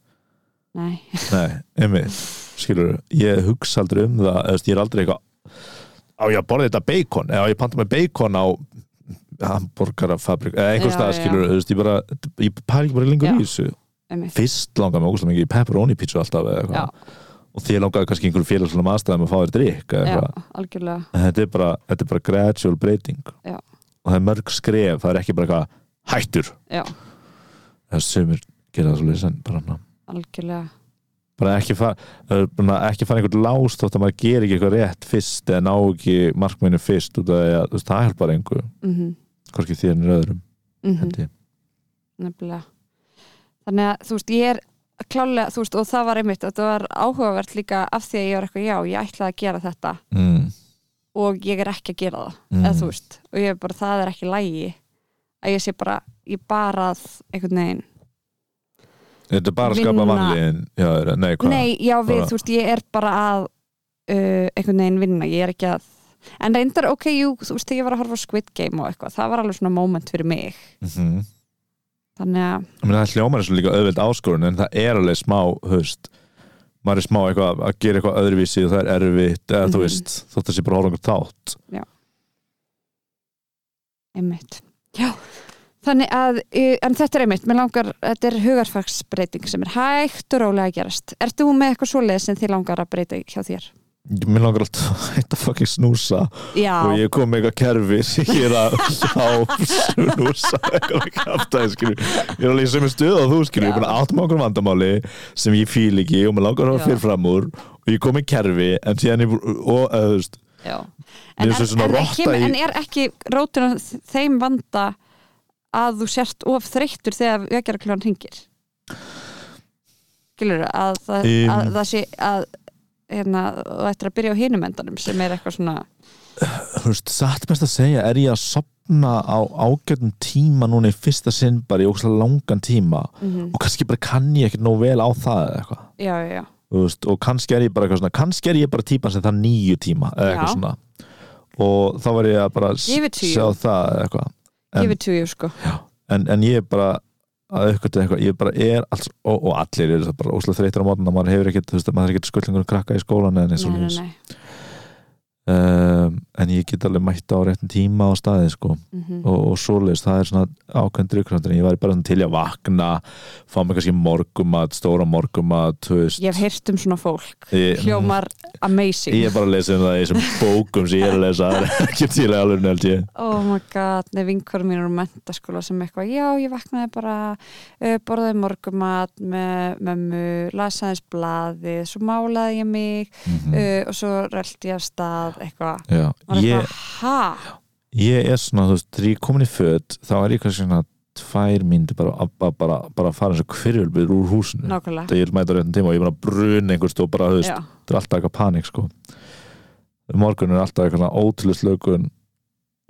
nei,
nei, einmitt, skilur ég hugsa aldrei um það, eða þú veist, ég er aldrei eitthvað á ég að borða þetta bacon eða á ég að panta með bacon á hamburgarafabrik, eða einhver
Já,
stað
já.
skilur, þú veist, ég bara ég pæl ekki bara lengur
Já.
í þessu
einmitt
fyrst langaði mig ógustlega mikið í pepperoni pizza alltaf eða
já,
eitthvað, og því langaði kannski einhverjum félagslega maðurstæðum að fá þér drikk eða
já,
eitthvað,
algjörlega
en þetta er bara, þetta er bara gradual breyting
Já.
og það er mörg skref, það er ekki bara eitthvað hættur,
já,
það er sumir gera það svo en bara, na,
algjörlega
bara ekki fara eh, bara ekki fara einhvern lás þótt að maður ger ekki eitthvað rétt fyrst eða ná ekki markminu fyrst út af því að þú veist, það hjálpar engu
mm -hmm,
hvorki þér en öðrum
mm -hmm.
held ég.
nefnilega þannig að þú veist, ég er klálega, þú veist, og það var einmitt þetta var áhugavert líka af því að ég var eitthvað já, ég ætlaði að gera þetta
mm.
og ég er ekki að gera það,
Mm.
eða þú veist og ég er bara, það er ekki lægi að ég sé bara, ég bara að einhvern veginn,
þetta er bara að skapa
Vinna-
vanlíðin já, er- nei, hvað?
nei, já við,
Bara-
þú veist ég er bara að uh, einhvern veginn vinna, ég er ekki að en reyndar, ok, jú, þú veist, þegar ég var að horfa á Squid Game og eitthvað, það var alveg svona moment fyrir mig
Mhm.
þannig að,
Ég meina, það hljómar eins og líka auðveld áskorun en það er alveg smá höst maður er smá eitthvað að gera eitthvað öðruvísi og það er erfitt eða þú
Mhm.
veist þótt að sé bara að horfa á einhvern þátt
einmitt já, þannig að uh, en þetta er einmitt, mér langar, þetta er hugarfagsbreyting sem er hægt og rólega að gerast Ertu hún með eitthvað svoleið sem þið langar að breyta hjá þér?
mér langar alltaf að hætta að fucking snúsa
Já,
og ég kom með eitthvað kerfi sem ég er að sjá snúsa eitthvað með kaftaði skilur ég er alveg í sömu stuð og þú skilur ég er búin að átt með okkur vandamáli sem ég fíl ekki og mér langar að
Já.
fyrir fram úr og ég kom með kerfi en síðan ég bú- og eða, þú veist
Já.
Mér
En,
finnst
er,
það svona
en,
rotta
kemur,
í-
en er ekki rótin að þeim vanda að þú sért of þreyttur þegar vekjara kljóðan hringir skilur að, það-
Um.
að það sé að hérna, þú ættir að byrja á hinum endanum sem er eitthvað svona
þú veist, satt mest að segja er ég að sopna á ágætum tíma núna í fyrsta sinn bara í ókslega langan tíma
mhm,
og kannski bara kann ég ekkert nóg vel á það eða eitthvað
já, já, já,
Þú veist, og kannski er ég bara eitthvað svona kannski er ég bara típan sem það nýju tíma eða eitthvað
Já.
svona og þá var ég að bara s-
Give it to you.
sjá það eða eitthvað En-
gefið tjúi sko
en, en ég er bara að aukvöldu eitthvað, ég bara er alls, og, og allir eru það bara óslega þreytir á mótna maður hefur ekkert, þú veist, maður er ekkert skullingur um krakka í skólan eða eins og
nei, nei,
leis
nei.
um, en ég get alveg mætt á réttin tíma á staði sko,
mhm,
og, og svoleiðis, það er svona ákveðin drykkröndur, ég væri bara svona til í að vakna fá mig kannski morgumat, stóra morgumat þú veist
ég hef heyrt um svona fólk
Ég-
hljómar amazing
Ég er bara að lesa um það í þessum bókum sem ég er að lesa, það er ekki til í alveg held ég.
oh my god, nei vinkorum mín úr mentaskóla sem eitthvað, já ég vaknaði bara uh, borðaði morgumat með mömmu, lasaðis blaði svo málaði ég mig uh, og svo röldi ég af stað eitthvað,
Mm. Já,
var
ég,
eitthvað ha,
ég er svona, þú veist, þegar ég er komin í föt þá er ég kannski svona tvær myndi bara að bara, bara, bara að fara eins og hverjulbyr úr húsinu.
nákvæmlega
Þegar ég er mæta réttin tíma og ég er bara að bruna einhverst og bara, þú veist,
já,
það er alltaf eitthvað panik, sko. Morgun er alltaf eitthvað ótrúlega slökun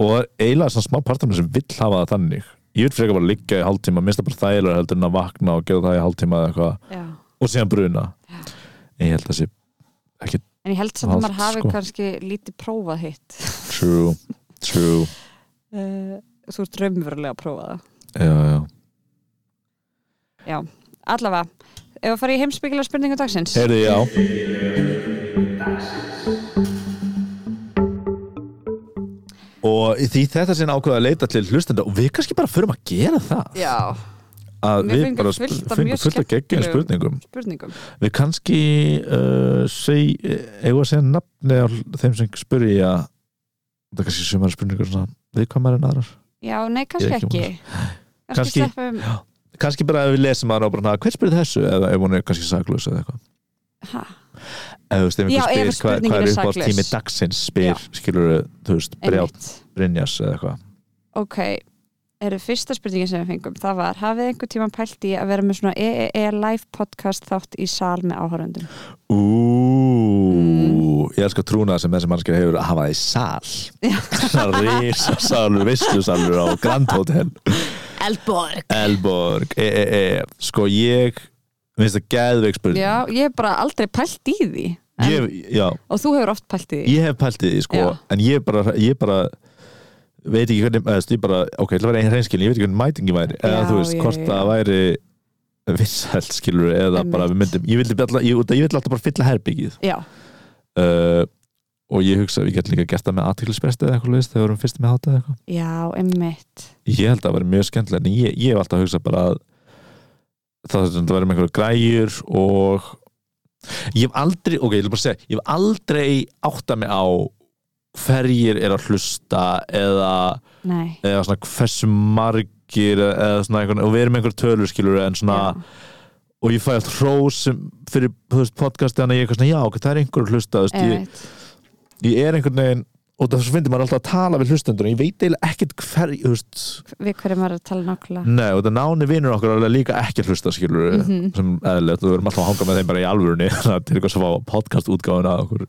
og það er eiginlega svona smá partamir sem vill hafa það þannig. Ég vil frekar bara liggja í hálftíma, minnst það bara þægilega heldur en að vakna og gera það í hálftíma eða eitthvað
já
og síðan bruna.
Já.
En ég held að sé
en ég held samt að
Vald,
maður hafi
sko.
kannski lítið prófað hitt
True, true
uh, þú ert raunverulega að prófa það
Já, já
allavega, ef að fara í heimsbyggilega spurningu dagsins
Heyrðu, já Og í því þetta sinna ákveða að leita til hlustenda og við kannski bara förum að gera það
já,
að
Við
við
fengum
bara
fullt af
sp- fengum
mjög
fullt af geggjum
skemmtilegum-
spurningum
spurningum
við kannski uh, seg, eigum að segja nafni á þeim sem spyrja það er kannski sumar spurningur svona, viðkvæmar en aðrar
já, nei, kannski
Ég er ekki
ekki kannski um,
Kannski-
sleppum
kannski bara ef við lesum að rábrana hver spyrir þessu eða ef hún er kannski saklaus eða eitthvað
ha,
ef þú stefnir
Já, ef
spyr hvað,
spurningin
hvað er
er
uppátt tími
saklaus.
dagsins spyr skilur þú veist Brjál
einmitt
Brynjas eða eitthvað
ok, eru fyrsta spurningin sem við fengum það var, hafið einhver tíma pælt í að vera með svona EEE live podcast þátt í sal með áhörundum
Úúúú ég elskar trúna sem þessi mannskir hefur að hafa það í sal risa salur, vislu salur á Grand Hotel
Elborg
Elborg e, e, e. sko ég minnst það geðveik spurning
já, ég hef bara aldrei pælt í því en,
ég, já,
og þú hefur oft pælt í því
ég hef pælt í því sko,
Já.
en ég bara, ég bara veit ekki hvernig eða, þú veist, ég bara, ok, það var einn hreinskilin ég veit ekki hvernig mætingi væri eða
Já,
þú veist,
já,
hvort
já.
það væri vinsælt skilur eða
Einmitt.
bara við myndum ég vildi, alltaf, ég, út af- ég vildi alltaf bara fylla herbyggið
já,
uh, og ég hugsa að við getum líka gert það með aðtiklispresti eða eitthvað leist þegar við erum fyrst með hátta eða eitthvað
já, einmitt
ég held að það væri mjög skemmtilega en ég, ég hef alltaf hugsað bara að það þurfti að vera með einhverju græjur og ég hef aldrei, ok, ég vil bara segja ég hef aldrei átta mig á hverjir er að hlusta eða,
nei
eða svona hversu margir eða svona einhvern, og við erum með einhver tölur skilur en svona,
Já.
og ég fæ allt hrós sem fyrir þú veist, podcasti þannig að ég er eitthvað svona, já, ok, það er einhver að hlusta þú veist, ég,
Einmitt.
ég er einhvern veginn og það finnir maður alltaf að tala við hlustendur en ég veit eiginlega ekkert hver, þú veist
við hverjum var að tala nákvæmlega
Nei, og þetta náni vinnur okkur er alveg líka ekki að hlusta skilur
Mhm.
sem eðlilegt, og við erum alltaf að hanga með þeim bara í alvörunni þannig að til eitthvað sem fá podcast útgáfuna af okkur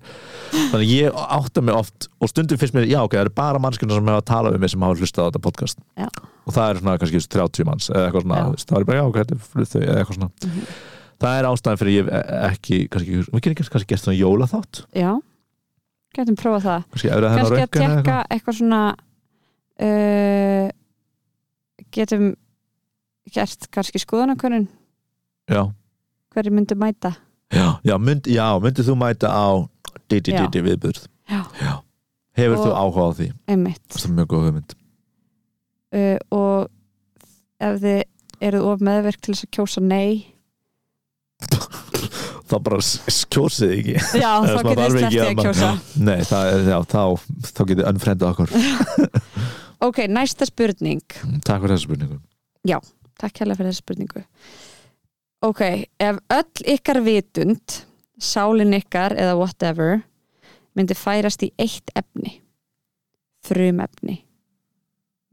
þannig að ég átta mig oft og stundum finnst mér, já ok, það eru bara mannskjörna sem hefa að tala við mig sem hafa hlustað á þetta podcast
Já.
og það er svona kannski 30 manns eða eitthvað svona,
Já.
þú veist, það er bara já ok, þetta er fyrir þau eða eitthvað svona
Mhm.
það er ástæðan fyrir ég e- ekki kannski, við getum kannski gert svona jólaþátt
já, getum prófað það
kannski efrið hennar
kannski að
röntgen eða
tekka
eitthvað
eitthvað svona uh, getum gert kannski skoðanakönnun
já,
hverju myndu mæta
já, já, mynd, já myndið þú mæta á
Já.
DDDD viðbyrð
já,
hefur þú
Og-
áhuga á því?
einmitt
Það er mjög góð hugmynd
uh, og ef þið eruð of meðverk til þess að kjósa nei
Það bara skjósið ekki
já, þá
Eða svona
getum
þarf
við
ekki
slepptið
að
að
maður-
kjósa
Nei, það er, já, þá, þá getið önfrendað okkur Mm,
ok, næsta spurning
Takk fyrir þessu spurningu
Takk hérlega fyrir þessu spurningu Ok, ef öll ykkar vitund sálin ykkar eða whatever myndi færast í eitt efni frumefni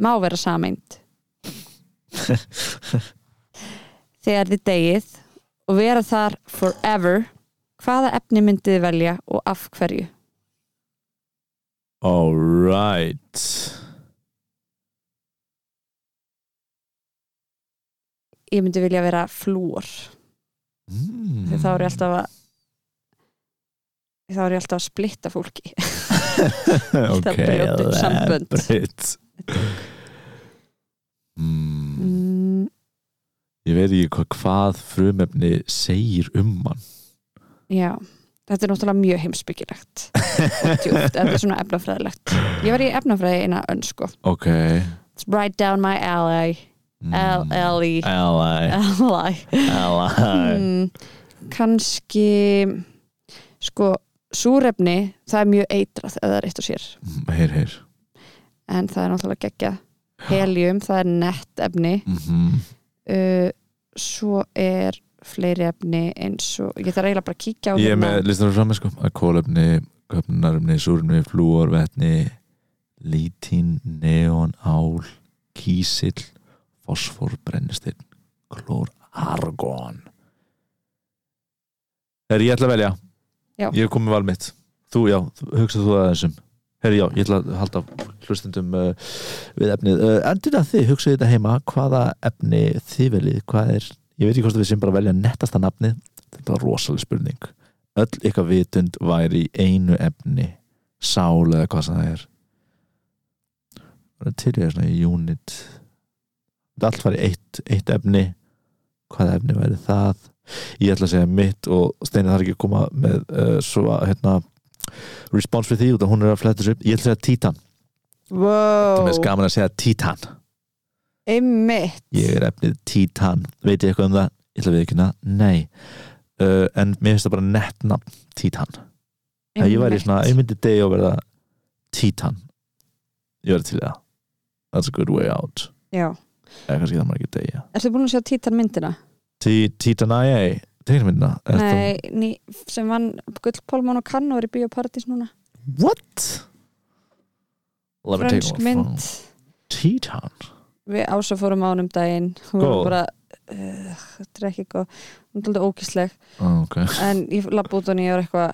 má vera sameind þegar þið degið og vera þar forever hvaða efni myndið þið velja og af hverju
Alright
ég myndi vilja vera flúor
mm.
því þá er ég alltaf að þá er ég alltaf að splitta fólki alltaf að brjóta upp sambönd.
breyt mm.
mm,
Ég veit ekki hvað, hvað frumefni segir um mann
Já, þetta er náttúrulega mjög heimsbyggilegt og djúpt, þetta er svona efnafræðilegt Ég var í efnafræði eina önn sko
Ok Mm.
It's right down my alley Mm. E. Alley
L-I
Alley
L-I
E. mm, Kanski sko, súrefni það er mjög eitrað ef það er eitt og sér
Mm, Heyr, heyr
en það er náttúrulega geggja Helium, það er nett efni
Mhm.
uh, svo er fleiri efni eins og, ég þarf eiginlega bara að kíkja á
Ég er
hérna.
með listanum fram sko, að kólefni, köpnunarumni, súrumni, flúor, vetni, lítín, neon, ál, kísill, fosfór, brennistinn, klór, argon. Herri, ég ætla að velja.
Já.
Ég hef komið val mitt. Þú, já, hugsað þú að þessum. Herri, já, ég ætla að halda hlustendum uh, við efnið. Uh, endur að þið hugsaðu þetta heima, hvaða efni þið veljið, hvað er, ég veit ekki hvort að við sem bara velja nettasta nafnið, þetta var rosaleg spurning öll ykkar vitund væri í einu efni sál eða hvað sem það er það er til ég svona í unit Þetta allt var í eitt, eitt efni hvaða efni væri það ég ætla að segja mitt og Steini þarf ekki að koma með uh, svo að hérna response við því út að hún er að flæta þessu upp ég ætla að segja títan,
Wow
það er skaman að segja títan
Einmitt
ég er efnið Títan veit ég eitthvað um það, ég ætla við ekki að nei uh, en mér finnst það bara nett nafn Títan, ef ég væri svona ég myndi degi að verða Títan ég verði til í það that's a good way out,
Já,
eða kannski það maður ekki degi
ertu búin að sjá títan myndina?
Tí- Títan IA, tegnmyndina er það-
Nei, ný, sem vann Gullpálmán og Kann og er í Bíóparadís núna
what? Let me take
Frönsk
one
mynd
from- Títan
Við ása fórum á hann um daginn Hún
Góð.
var bara uh, Þetta er ekki góð, hún er alltaf ókísleg
oh, ok,
en ég lapp út og ég var eitthvað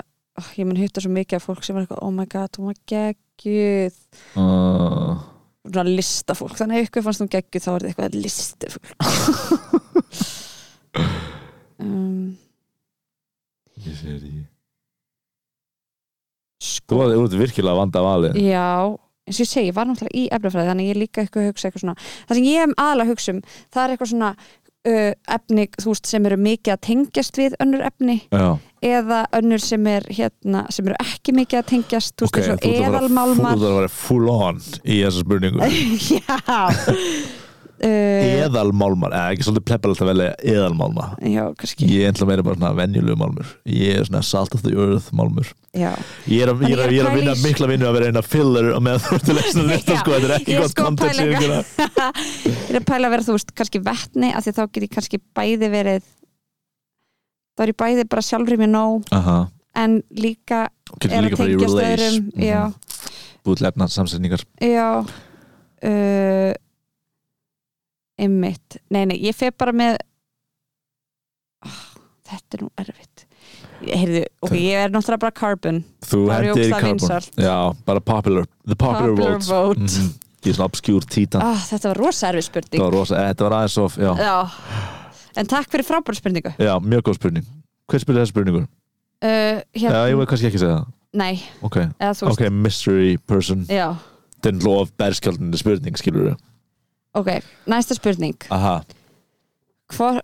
oh, ég mun hitta svo mikið af fólk sem var eitthvað oh my god, hún var geggjuð
uh,
svona listafólk, þannig að ykkur fannst hún geggjuð þá var þetta eitthvað listafólk um,
ég sé þetta ekki Þú
sko,
varði út virkilega að vanda valið
já eins og ég segi, ég var náttúrulega í efnafræði þannig að ég er líka eitthvað að hugsa eitthvað svona það sem ég er aðalega að hugsa um, það er eitthvað svona uh, efni, þú veist, sem eru mikið að tengjast við önnur efni
Já,
eða önnur sem er hérna, sem eru ekki mikið að tengjast þú
ok,
veist,
þú ert
okay, eins og
að vera full-
eðalmálmar
þú ert að vera full on í þessu spurningu
já uh,
eðalmálmar, eða ekki svolítið pleppar alltaf velja eðalmálma
já, kannski
ég er ennþá meira bara svona venjulegu málmur ég er svona salt of the earth málmur
já.
ég er, að- ég er, að- ég er að vinna
Þannig ég er að pæla í-
mikla vinnu að vera eina filler og með að þú ert að lesna þetta
Já,
sko, þetta er ekki
ég
gott
sko
kontent
pæla
yfir það
ég er að pæla að vera þú veist kannski vetni af því að þá get ég kannski bæði verið þá er ég bæði bara sjálfri mér nóg
Aha,
en líka
getur
er
líka
að
farið í
tengjast
relays
öðrum já,
Mhm. búið til efna samsetningar
já uh, einmitt nei, nei, ég fer bara með oh, þetta er nú erfitt Heyrðu, ok, ég er náttúrulega bara carbon
þú
Það
hendir
er
í
ógeðslega
carbon
vinsælt.
já, bara popular, the popular,
Popular
vote,
vote.
Mhm. ég er svona obscure títan
oh, þetta var rosa erfið spurning
það var rosa, eh, þetta var aðeins of já,
Já, en takk fyrir frábæra spurningu
já, mjög góð spurning hver spyrir þessi spurningur?
uh,
já, ég
hérna,
veit kannski ekki segja það
Nei,
ok,
eða þú veist
ok, mystery person
Já,
den lof berskjaldinu spurning, skilur við
ok, næsta spurning
aha,
Hvor,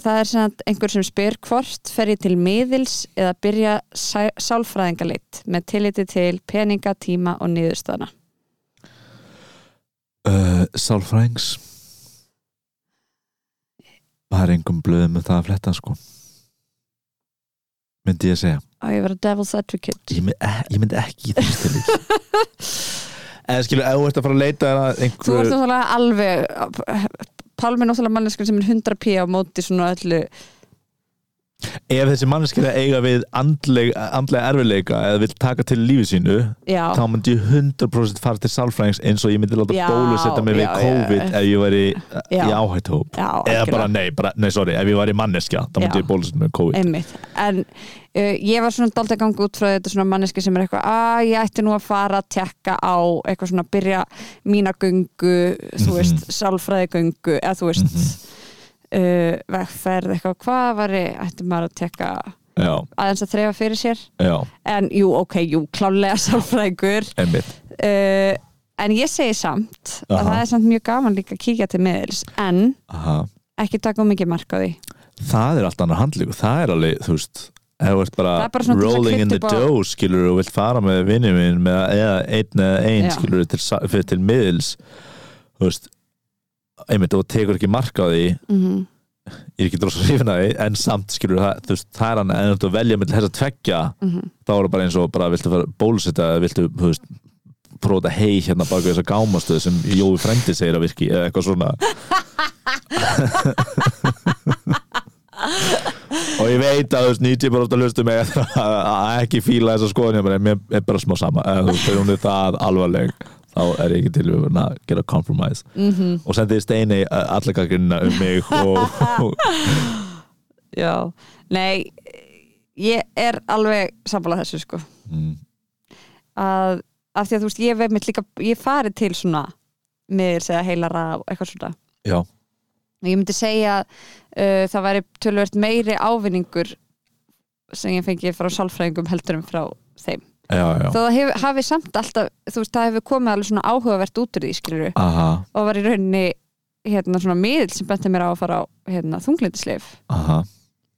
Það er sem að einhver sem spyr hvort fer ég til miðils eða byrja sæ, sálfræðingaleitt með tilliti til peninga, tíma og niðurstana
uh, sálfrængs það er engum blöðum með það að fletta sko myndi ég að segja
og ég var að devil's advocate
ég myndi, e, ég myndi ekki í þessu til eða skilur, ef þú ert að fara að leita að
Þú ert
einhver
náttúrulega alveg Pálmi er náttúrulega manneskun sem er 100 p á móti svona öllu
ef þessi manneskir að eiga við andleg, andlega erfileika eða vil taka til lífi sínu
Já,
þá myndi ég 100% fara til sálfrængs eins og ég myndi láta
Já,
bólusetja mig við
já, já,
COVID
já.
ef ég væri
Já.
í áhættu
já
eða
algjörlega.
bara nei, bara, nei sorry, ef ég var í manneskja þá
Já.
myndi ég bólusett með COVID
einmitt, en uh, ég var svona dálítið að ganga út frá þetta svona manneski sem er eitthvað að ég ætti nú að fara að tekka á eitthvað svona byrja mína göngu þú veist, sálfræðigöngu eða þú veist uh, vegferð eitthvað, hvað var ég ætti maður að tekka
já,
aðeins að þrefa fyrir sér
já,
en jú, ok, jú, klálega sálfræðigur
einmitt
uh, en ég segi samt að
Aha.
það er samt mjög gaman líka að kíkja til miðils en
Aha.
ekki taka of mikið mark á því
það er allt annar handlíku, það er alveg þú veist, ef þú ert bara,
Það er bara svona til að
rolling in the
klippa upp á-
dough skilur og vilt fara með vinnum minn með, eða einn eða einn
Já.
skilur til, sa- fyrir til miðils þú veist, einmitt og tekur ekki mark á því
mm
ég er ekki dróðs að hrifna því, en samt skilur það, þú veist, það er hann, en þú ert að velja með þess að tveggja,
Mhm.
þá er það bara eins og bara viltu fara bólusetta, eða viltu, þú veist próta hei hérna baka þess að gámastöð sem Jói Frendi segir að virki eða eitthvað svona og ég veit að þú veist 90 bara ofta hlustu mig að að ekki fíla þessa skoðun ég bara, mér er bara smá sama eða þú veist, þegar hún er það alvarleg þá er ég ekki til við að gera compromise
-hmm.
og sendi steini allakagrina um mig og, og
Já, nei ég er alveg samfálað þessu sko
mm.
að, af því að þú veist, ég veit mitt líka ég fari til svona miðils eða heilara og eitthvað svona
Já.
og ég myndi segja að uh, það væri tölvöld meiri ávinningur sem ég fengi frá sálfræðingum heldurum frá þeim
já, já.
þó það hef, hafi samt alltaf, þú veist, það hefur komið alveg svona áhugavert út úr því, skilur við
aha,
og var í rauninni hérna svona miðil sem benti mér á að fara á hérna, þunglindisleif
aha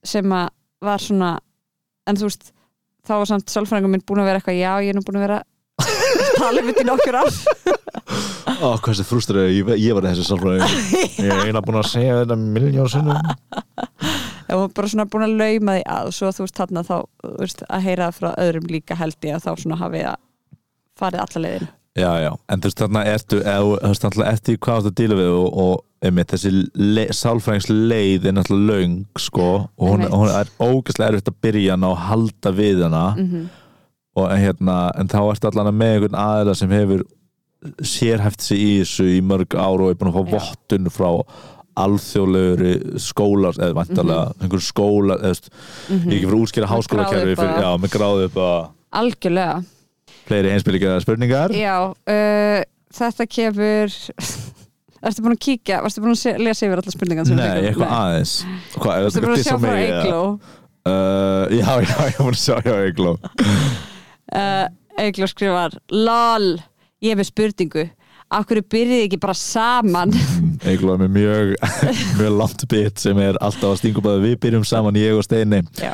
sem að var svona en þú veist, þá var samt sálfræðingum minn búin að vera eitthvað, já, ég er nú búin að vera að tala um þetta í nokkur ár
Ó, hvað þessi frústrið, ég, ve- ég var í þessu sálfræði Ég er eiginlega búin að segja þetta miljón sinnum
og hún bara svona búin að lauma því að og svo þú veist þarna þá þú veist, að heyra það frá öðrum líka held ég að þá svona hafið að farið alla leiðin
já, já, en þú veist þarna ertu eð, þú veist þarna eftir hvað þú ert að díla við og, og einmitt, þessi le, sálfræðings leið er náttúrulega löng sko, og hún,
Einmitt.
hún er ógæslega erfitt að byrja hana og halda við hana
mm
og, en, hérna, en þá ertu allan með einhvern aðila sem hefur sérhæft sig í þessu í mörg ár og er búin að fá
Já.
vottun frá alþjóðlegri skólar eða vantarlega einhverjum skólar eða, þú veist, ég er ekki fyrir að útskýra háskólakerfi
Mhm.
fyrir,
gráðu upp að-
já, með gráðu upp að
algjörlega
fleiri einspilíkja spurningar
já, uh, þetta kemur erstu búin að kíkja varstu búin að se- lesa yfir alla spurningan sem við
Nei,
fengum?
eitthvað aðeins Hvað, er
varstu
þetta
búin
að
að sjá
dissa
frá
mig? eða?
Eigló
Uh, Já, já, ég var að sjá hjá Eigló
uh, Eigló skrifar LOL, ég hef með spurningu af hverju byrjið þið ekki bara saman
Eigló Mm, er með mjög, mjög langt bit sem er alltaf að stinga bæði við byrjum saman ég og Steini
já,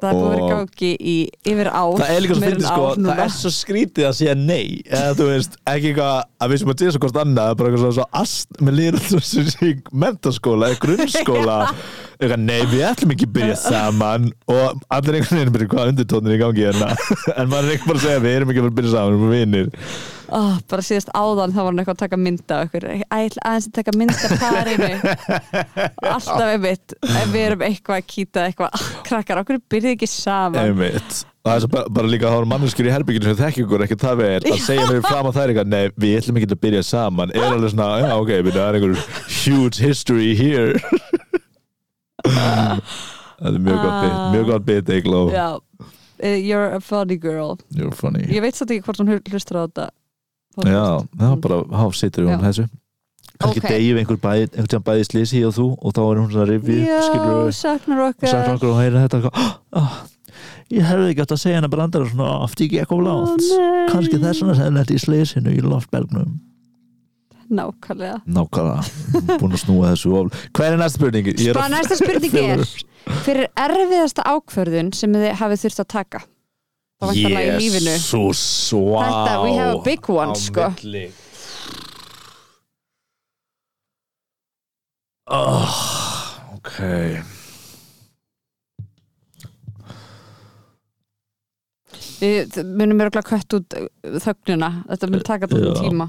það er búin að vera í
Og-
gangi í yfir ár
Það er líka svo
meira en
fyndið sko,
ár núna.
það er svo skrítið að segja nei eða þú veist, ekki eitthvað að við sem að dissa hvort annað, bara eitthvað svo, svo ast með lýra þessu mentaskóla eða grunnskóla, eitthvað nei við ætlum ekki að byrja saman og allir einhvern veginn byrja hvað undirtónir í gangi hérna, en maður er ekki bara að segja við erum ekki að fara að byrja saman, við erum vinir
oh, bara síðast áðan þá var hann eitthvað að taka mynda okkur, Æ, ég ætla aðeins að taka mynda parinu og alltaf einmitt ef við erum eitthvað að kýta eitthvað, "Ah, krakkar, okkur byrðið ekki saman
Einmitt. Og það er svo bara, bara líka að það eru manneskjur í herbygginu sem þekki ykkur ekki það vel að segja mér fram að það er eitthvað nei, við ætlum ekki að byrja saman er alveg svona, já ok, byrja, það er einhver huge history here Það er mjög gott bit, mjög gott bit Eigló,
já, Eh, you're a funny girl
you're funny
ég veit svolítið ekki hvort hún hl- hlustar á þetta
Já, það er bara, há, situr hún
Já.
þessu kannski
Ok.
okay. deyjum einhver bæði, einhvern tíðan bæði slýsi og þú og þá er hún svona rifið, skilur
já,
við
saknar
og
okkar
sagði okkur og heyra þetta eitthvað, oh, ég hefði ekki átt að segja henni bara andara svona oft ég gekk of látt
nei.
kannski þess vegna sem þetta í slysinu í loftbelgnum
nákvæmlega
nákvæmlega, búin að snúa þessu of hver er næsta spurning? Ég er
Spá,
að-
næsta spurning er
Fjögur.
fyrir erfiðasta ákvörðun sem þið hafið þurft að taka þá vantarlega í lífinu
Jesus, wow
Þetta, we have a big one,
Á
sko.
milli. oh, ok
Við munum örgulega kött út uh, þögnina, þetta mun taka þetta
Já.
tíma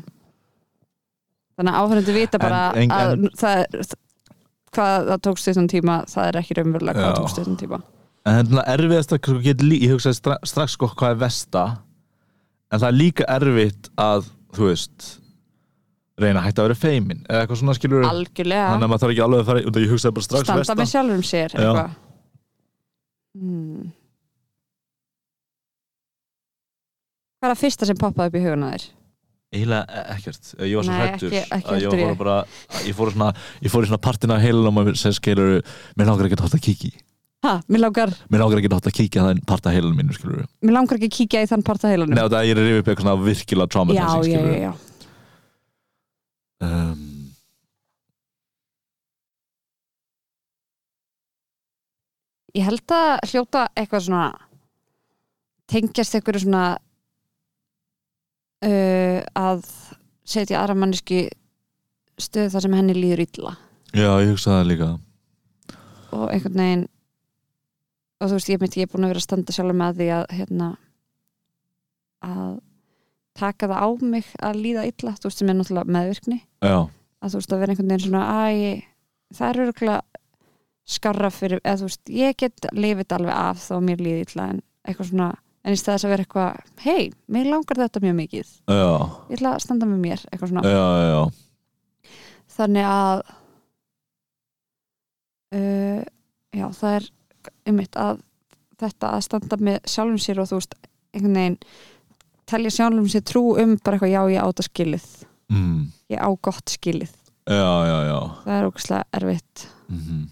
þannig að áhverjandi vita bara
En- en-
að
en-
það er hvað það tókst þessum tíma, það er ekki raunverulega hvað
Já.
tókst þessum tíma
en þetta er erfiðast að sko, geta lí- ég hugsaði stra strax sko hvað er versta en það er líka erfitt að þú veist reyna að hætta að vera feimin eða eitthvað svona skilur þannig
algjörlega,
að maður þarf ekki alveg að fara í og það ég hugsaði bara strax
standa
versta
með sjálfum sér
Já.
eitthvað hmm. hvað er að fyrsta sem poppaði upp í huguna þér?
eiginlega e- ekkert, ég var svo
Nei,
hrættur
ekki- ekki
að ég
heldur
var
ég.
bara að ég fór, svona, ég fór í svona partina heilanum að mér sem skilur, mér langar ekki að hótt að kíkja í.
ha, mér langar,
mér langar ekki að hótt að kíkja þann parta heilanum mínu skilur mm.
mér langar ekki að kíkja í þann parta heilanum
neða það ég er yfir upp eitthvað svona virkilega
já, já,
traumatizing
já,
skilur
já,
Um,
ég held að hljóta eitthvað svona tengjast eitthvað svona uh, að setja aðra manneski stöðu þar sem henni líður illa
já ég hugsaði það líka
og einhvern veginn og þú veist ég myndi ég er búin að vera að standa sjálf með því að hérna að taka það á mig að líða illa, þú veist sem er náttúrulega meðvirkni
já,
að þú veist að vera einhvern veginn svona æ, það er örgulega skarra fyrir, eða þú veist, ég get lifið þetta alveg af þó mér líði illa en eitthvað svona, en í stæðis að vera eitthvað hei, mér langar þetta mjög mikið
já,
ég ætla að standa með mér, eitthvað svona
já, já
þannig að uh, já, það er einmitt að þetta að standa með sjálfum sér og þú veist, einhvern veginn telja sjálfum sér trú um bara eitthvað, já, ég á þetta skilið
mm,
ég á gott skilið,
já, já, já
það er ógustlega erfitt
mm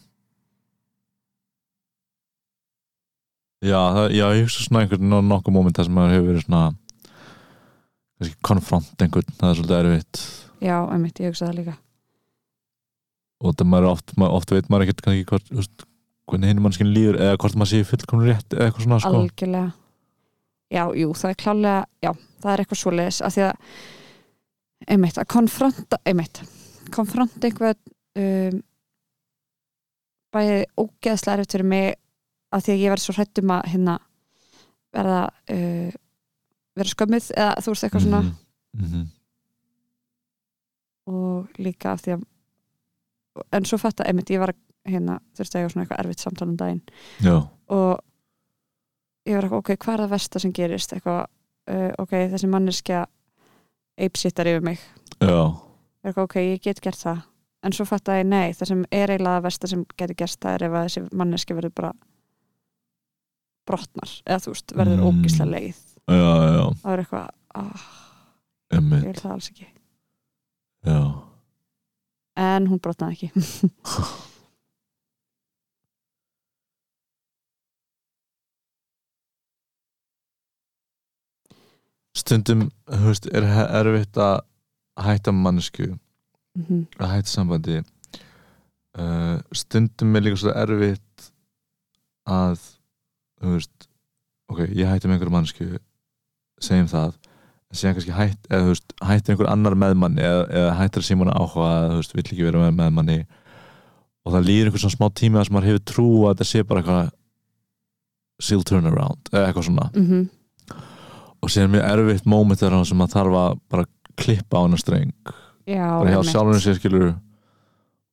já, það, já, ég hugsa svona einhvern no- nokkuð moment þar sem maður hefur verið svona kannski konfront einhvern, það er svolítið erfitt
Já, einmitt, ég hugsa það líka
og það maður oft, maður, oft veit maður ekkert kannski hvort, þú veist, hvernig hinn mannskinn líður eða hvort maður sé fullkomn rétt eða eitthvað svona sko.
Algjörlega Já, jú, það er klálega Já, það er eitthvað svoleiðis af því að einmitt, að konfronta einmitt, konfronta einhvern um, bæði ógeðslega erfitt fyrir mig að því að ég verð svo hrætt um að hérna verða uh, vera skömmið eða þú veist eitthvað svona
-hmm.
og líka af því að en svo fatta, einmitt, ég var hérna, þurfti að ég var svona eitthvað erfitt samtal um daginn
Já,
og ég var eitthvað, ok, hvað er það versta sem gerist eitthvað, uh, ok, þessi manneskja eipsittar yfir mig
já,
Ég var eitthvað, ok, ég get gert það en svo fatt að ég, nei, það sem er eiginlega það versta sem getur gerst það er ef að þessi manneskja verður bara brotnar, eða þú veist, verður
Mm.
ógislega leið
já, já,
það er eitthvað, ah, ég
emmitt,
vil það alls ekki
já
en hún brotnaði ekki
Stundum, þú veist, er he- erfitt að hætta mannesku
Mhm,
að hætta sambandi uh, stundum er líka svo erfitt að þú veist ok, ég hætti með einhverju mannsku segjum það en síðan kannski hætt, eða, þú veist, hætti einhver annar meðmanni eða, eða hættir að síma hana áhuga eða, þú veist, vill ekki vera með meðmanni og það líður einhver svona smá tími þar sem maður hefur trú að þetta sé bara eitthvað seal turnaround eða eitthvað svona
mhm,
og síðan er mjög erfitt moment þar sem maður þarf að bara klippa á hana streng
já,
bara hjá
einmitt.
sjálfurinn sér skilur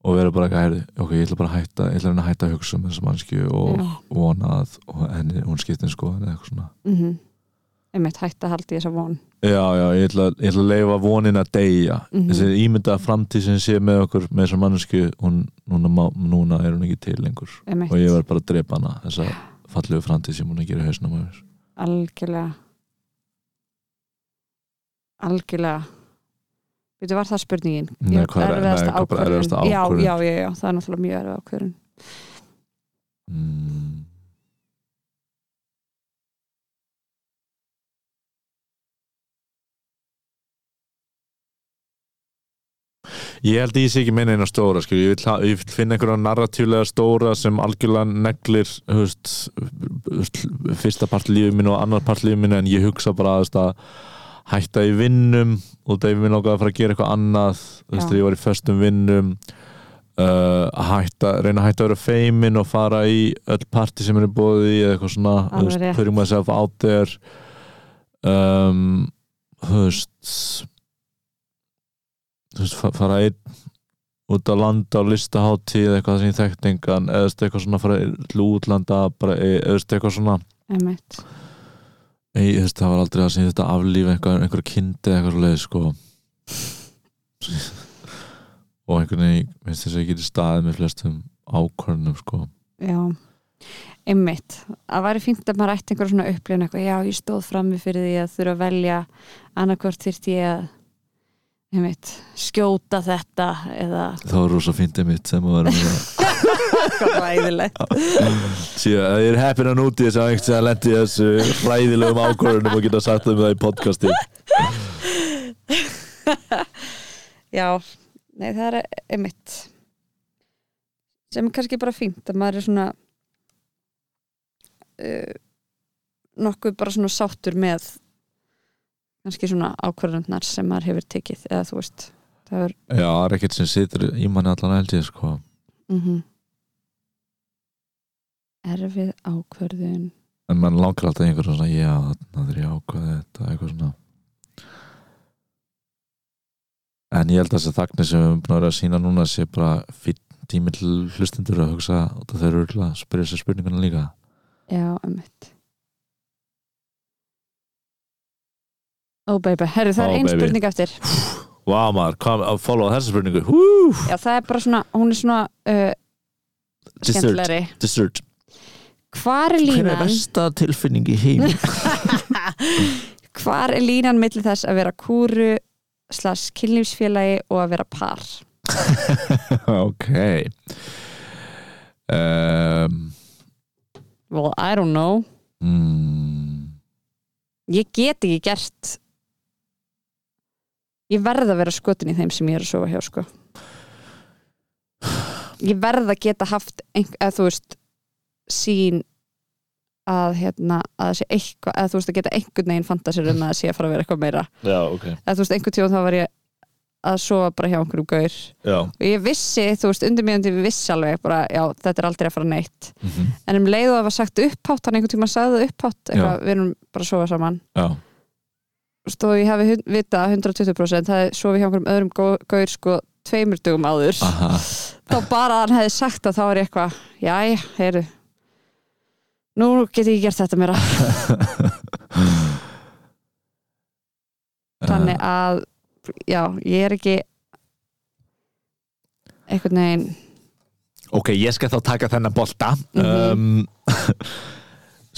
og vera bara eitthvað herði ok, ég ætla bara að hætta, ég ætla að reyna að hætta að hugsa um þessa mannskju og
Já,
vona að og henni, hún skiptir sko eða eitthvað svona
mhm. einmitt hætt að haldi þess að von
já, já, ég ætla, ég ætla að leifa vonin að deyja
Mhm.
þessi ímyndaða framtíð sem sé með okkur með þessa mannskju, hún, núna, má- núna er hún ekki til lengur
einmitt,
og ég verð bara að drepa hana þessa fallegu framtíð sem hún er að gera í hausnum á mér
algjörlega algjörlega Veitu, var það spurningin?
Nei,
Ég-
hvað er-
erfiðasta
nei, hvað bara
ákvörðun?
erfiðasta
Já,
ákvörðun?
já, já, já, það er náttúrulega mjög erfið ákvörðun
mm. Ég held að ég sé ekki minna eina stóra skil. ég vil, ha- ég vil finna einhverja narratíflega stóra sem algjörlega neglir höfst, höfst, fyrsta part lífið minn og annar part lífið minn en ég hugsa bara höfst, að hætta í vinnum og það er mér langaði að fara að gera eitthvað annað þú veist
Já.
þegar ég var í föstum vinnum uh, að hætta, reyna að hætta að vera feimin og fara í öll parti sem eru bóðið í eða eitthvað svona þú
Alveg
veist,
rétt.
putting myself out there um, þú veist þú veist, fa- fara einn út að landa á listaháttíð eða eitthvað sem ég þekkt engan eða þú veist, eitthvað svona fara til útlanda bara, eða þú veist, eitthvað svona
einmitt,
Nei, þú veist, það var aldrei að segja þetta aflífa einhver, einhver kindi eða eitthvað svo sko og einhvern veginn ég finnst þess að ég geti staðið með flestum ákvörnum sko
já einmitt, það væri fínt að maður ætti einhver svona upplifun eitthvað, já, ég stóð frammi fyrir því að þurfa að velja annarkvort þyrst ég að einmitt, skjóta þetta eða
það var rosa fyndið mitt sem að vera með það
hvað ræðilegt
síðan, ég er heppin að núti þess að einhvern veginn lendi þessu hræðilegum ákvörnum og geta sagt um það í podcasti
Já, nei það er einmitt sem er kannski bara fínt að maður er svona uh, nokkuð bara svona sáttur með kannski svona ákvarðarnar sem maður hefur tekið eða þú veist það er
já, það er ekkert sem situr í manni allan held ég sko
mm erfið ákvarðun
en mann langar alltaf í einhverjum svona já, þarna þegar ég ákvaði þetta eitthvað svona en ég held að þessi þagnir sem við erum búin að vera að sína núna sé bara fýtt tími til hlustendur að hugsa og það þau eru örugglega að spyrja þessi spurninguna líka
Já, einmitt Ó oh, baby, herru það
Ó,
er ein
baby.
spurning eftir
Vá maður, kom að followa þessi spurningu Hú,
Já, það er bara svona, hún er svona uh,
dessert,
skemmtilegri
dessert
Hvar er
Hver er
línan?
besta tilfinning í heim?
Hvar er línan milli þess að vera kúru slags kynlífsfélagi og að vera par?
ok um,
Well, I don't know.
mm,
Ég get ekki gert Ég verð að vera skotin í þeim sem ég er að sofa hjá sko. Ég verð að geta haft einhver, eða þú veist sín að hérna, að það sé eitthvað eða þú veist að geta einhvern veginn fanta sér um að það sé að fara að vera eitthvað meira
Já, ok
eða þú veist, einhvern tíu þá var ég að sofa bara hjá einhverjum gaur
já,
og ég vissi, þú veist, undirmjöndi við vissi alveg bara, já, þetta er aldrei að fara neitt
Mhm.
en um leið og það var sagt upphátt hann einhvern tíma sagði það upphátt, eitthvað, við erum bara að sofa saman
já,
stóð ég hafi hun- vitað að 120% það er sofið hjá einhverjum öðrum gó- gaur sko tveimur dugum áður
aha,
þá bara að hann hefði sagt að þá er ég eitthvað jæja, heyrðu nú get ég ekki gert þetta meira
Eh,
þannig að já, ég er ekki einhvern veginn
ok, ég skal þá taka þennan bolta
Mhm.
um,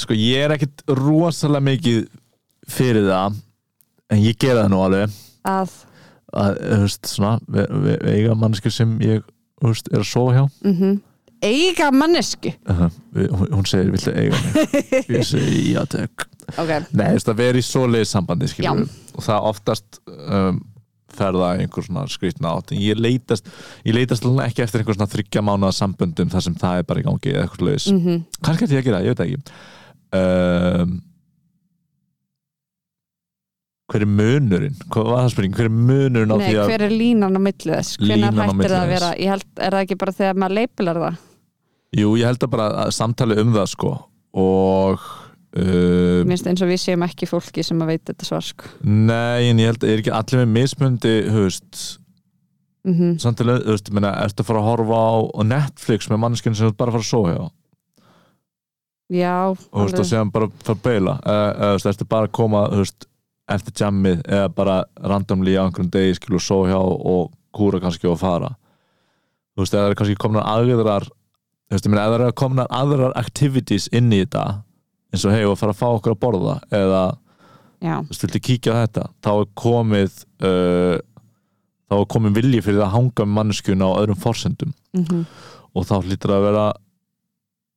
sko ég er ekkit rosalega mikið fyrir það en ég gera það nú alveg
að
að, þú veist, svona, ve ve veiga manneskur sem ég, þú veist, er að sofa hjá
mm eiga mannesku
uh, hún, hún segir, viltu eiga mig ég segi, já, takk
ok,
Nei, þú veist, að vera í svoleiðis sambandi skilur,
Já.
og það oftast um, ferða í einhver svona skrýtna átt en ég leitast, ég leitast alveg ekki eftir einhver svona þryggja mánuða samböndum þar sem það er bara í gangi eða eitthvað leiðis
mm
kannski ætti ég að gera, það, ég veit það ekki um, hver er munurinn? hvað var það spurning? hver er munurinn á
Nei,
því að
hver er línan á milli þess hvenær
Línan á milli
hættir það að
þess.
vera ég held, er það ekki bara þegar maður leipilar það
jú, ég held að bara að samtali um það sko og um,
minnst eins og við séum ekki fólki sem að veit þetta svar sko.
nei, en ég held að er ekki allir með mismundi, höfust
mm
samtilega, þú veist, ég meina, ertu að fara að horfa á, á Netflix með manneskinu sem þú ert bara að fara að sofa hjá og
já,
þú veist, og
alveg.
séðan bara að fara að beila eða, eða, þú veist, ertu bara að koma, þú veist eftir jammið, eða bara randomly á einhverjum degi, skilu, sofa hjá og kúra kannski og fara þú veist, eða það er kannski komnar aðrar þú veist, ég meina, eða það er komnar aðrar activities inn í þetta eins og hei, og fara að fá okkur að borða eða,
já,
þú veist, viltu kíkja á þetta þá er komið uh, þá er komið vilji fyrir að hanga með manneskjuna á öðrum forsendum
mm -hmm,
og þá hlýtur að vera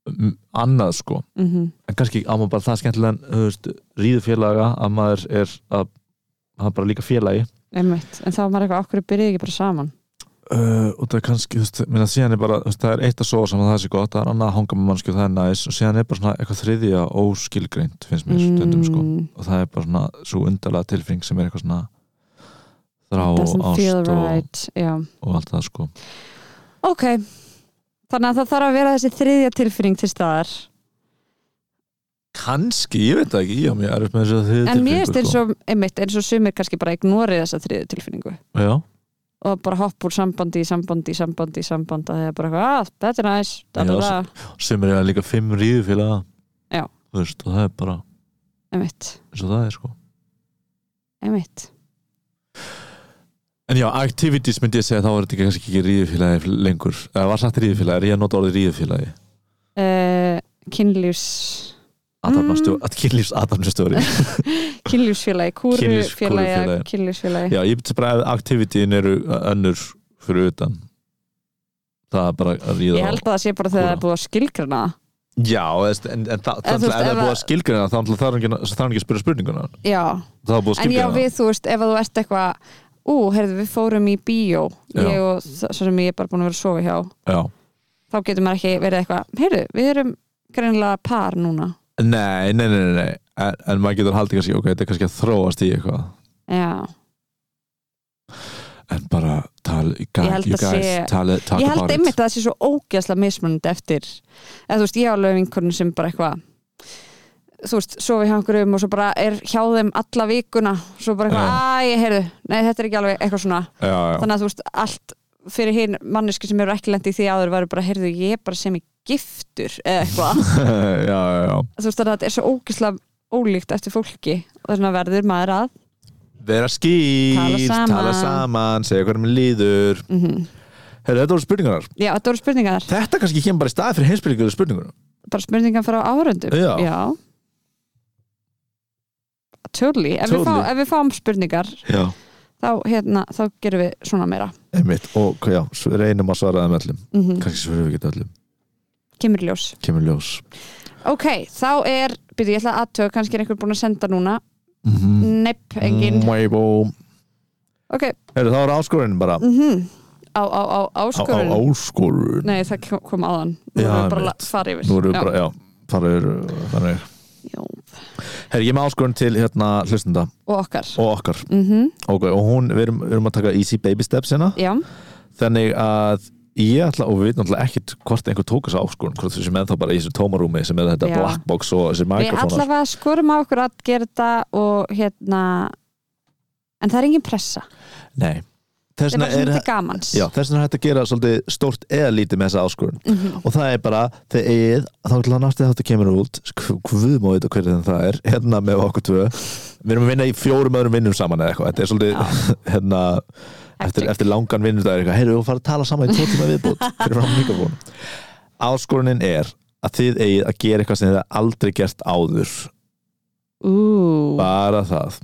mm, annað sko
mm
en kannski á maður bara það skemmtilega þú veist, ríðu félaga að maður er að hafa bara líka félagi
einmitt en þá var maður eitthvað, okkur byrjaði ekki bara saman
uh, og það er kannski, þú veist, minna síðan er bara þú veist, það er eitt að sofa saman það sé gott, það er annað að hanga með mannskjöld, það er næs og síðan er bara svona eitthvað þriðja óskilgreint finnst mér stundum sko
Mm,
og það er bara svona svo undarlega tilfinning sem er eitthvað svona þrá
doesn't
og
feel
ást og,
right já.
og allt það sko
ok, þannig að það þarf að vera þessi þriðja tilfinning til staðar
kannski, ég veit það ekki, ég á mér er upp með þessu þriðju
en mér finnst
tilfinningu,
eins og einmitt, eins og sumir kannski bara ignorið þessa þriðju tilfinningu
sko. Já.
og bara hopp úr sambandi, í sambandi, í sambandi, í sambandi að það er bara eitthvað, að þetta er næs da, da,
Já,
da,
sem er líka fimm ríðufélaga
Já.
þú veist, og það er bara
einmitt,
eins og það er sko
einmitt
en já, activities myndi ég segja þá er þetta kannski ekki ríðufélagi lengur eða var sagt ríðufélagi, er ég að nota orðið ríðufélagi
uh, kynlífs
aðarnastjóri, mm. kynlífs aðarnastjóri
kynlífsfélagi,
Kynlífs-
kúrufélagi
kúrufélagi.
kynlífsfélagi,
já, ég myndi bara að activityin eru önnur fyrir utan það er bara að ríða
ég held að það sé bara þegar það er búið að skilgrana
já, veist, en, en það,
En
það,
þú veist,
það
ef
er búið
að-
að skilgreina þá þarf hann ekki, þá þarf hann ekki að spyrja spurninguna
já,
það er búið að
en já
skilgreina
við þú veist ef að þú ert eitthvað, ú, heyrðu við fórum í bíó,
Já.
ég og það svo sem ég er bara búin að vera að sofa hjá,
já.
þá getur maður ekki verið eitthvað, heyrðu, við erum greinilega par núna,
Nei, nei, nei, nei, nei. En, en maður getur haldið kannski, ok, þetta er kannski að þróast í eitthvað
já
en bara tal, guys,
Ég held
you
að
guys
sé-
tali, talk
ég held
about
einmitt að það sé svo ógeðslega mismunandi eftir eða þú veist, ég á alveg vinkornum sem bara eitthvað þú veist, sofi hjá einhverjum og svo bara er hjá þeim alla vikuna svo bara eitthvað,
Já.
að ég heyrðu nei, þetta er ekki alveg eitthvað svona
it já, já.
þannig að þú veist, allt fyrir hinn manneski sem eru ekki lendi í því áður varu bara, heyrðu, ég er bara sem ég giftur eða eitthvað,
já, já, já
þú veist, þannig að þetta er svo ógeðslega ólíkt eftir fólki og þess vegna verður maður að
vera skýr,
Tala saman.
tala saman segja hvernig mér líður
mm
Heru, þetta voru spurningar
já, þetta voru spurningar,
þetta kannski kemur bara í stað fyrir heimspurningar spurningar
bara spurningar frá áhörundum
Já.
já. Totally. Ef, við fá,
Totally.
ef við fáum spurningar
já,
þá, hérna, þá gerum við svona meira
einmitt og já, s- reynum að svara þeim öllum
mm
kannski svara við ekki öllum,
kemur í ljós
kemur ljós
ok, þá er, byrju ég ætla aðtöga kannski er einhver búin að senda núna
mm -hmm.
nepp, engin ok,
Heru, þá er áskorun bara
mm á, á, á,
á, á
áskorun
áskorun
nei, það kom- kom áðan nú
Já,
erum við bara
einmitt.
að fara yfir
nú erum
Já.
við bara, já, það er þannig
Já.
Herri, ég er með áskorun til hérna hlustenda
og okkar
og okkar
mm
Ok, og hún, við erum, við erum að taka easy baby steps hérna
já,
Þannig að ég ætla, og við veitum alltaf ekkert hvort einhver tók þessa áskorun Hvort þessi menn þá bara í þessu tómarúmi sem er þetta
Já.
black box og þessi
við
mikrofónar
allavega skorum á okkur að gera þetta og hérna en það er engin pressa,
Nei, þess
þetta er
vegna
bara svona
er,
til gamans
já, þess vegna er hægt að gera svolítið stórt eða lítið með þessa áskorun
Mhm.
og það er bara, þegar eigið þá ætla hann aftur þetta kemur út hvað má þetta hvernig það er, hérna með okkur tvö við erum að vinna í fjórum öðrum vinnum saman eða eitthvað, þetta er svolítið hérna, eftir,
Hektik.
eftir langan vinnum það er eitthvað, heyrðu, við fara að tala saman í tvo tíma viðbútt fyrir frá mikrofón áskorunin er að þið eigið að gera eitthvað sem þið hafið aldrei gert áður
Ú,
bara það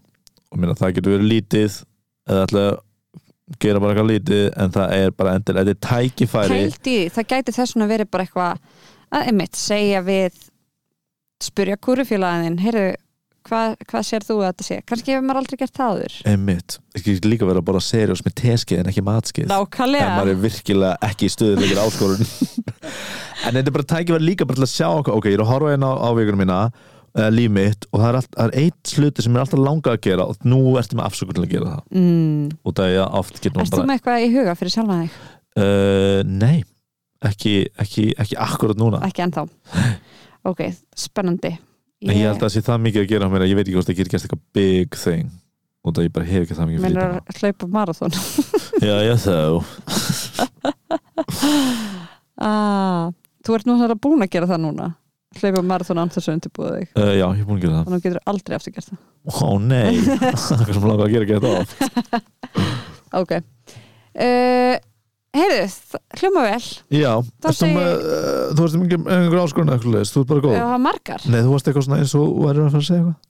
og minna, það getur verið lítið eða ætla að gera bara eitthvað lítið en það er bara endur, þetta er tækifæri
pælt í því. það gæti þess vegna verið bara eitthvað að einmitt segja við spurja kúrufélagin heyrðu, hvað, hvað sér þú að þetta sé kannski hefur maður aldrei gert það áður
Einmitt, það getur líka verið að borða seriós með teskeið en ekki matskeið en maður
nákvæmlega,
er virkilega ekki í stuðið fyrir áskorun en þetta er bara tækifæri líka bara til að sjá okkur, ok, ég er að horfa inn á ávíkunum mína uh, líf mitt og það er, allt, það er eitt sluti sem er alltaf langað að gera og nú ertu með afsökun til að gera það
mm.
og það er oft getur
erst þú
maður bara
með eitthvað í huga fyrir sjálfa þig?
uh, nei, ekki, ekki, ekki akkurat núna
ekki ennþá ok, spennandi
en ég held að það sé það mikið að gera á mér að ég veit ekki hvort það getur gert eitthvað big thing og það ég bara hef ekki það mikið
Meinar
fyrir
að hlaupa um marathon
já, já, þá
ah, Þú ert núna búin að gera það núna Hlaupa um marathon án þess að undirbúða þig
uh, já, ég er búin að gera það
Þannig að þú getur aldrei aftur gert það
Ó nei, eitthvað sem langar að gera gett á
Ok uh, Heyrðu, þ- hljóma vel
Já,
Þá
ertu
segi-
með, uh, þú veist ekki einhver áskorun eða eitthvað leist, þú ert bara góð
Við hafa margar
Nei, þú varst eitthvað svona eins og þú erum að fara að segja eitthvað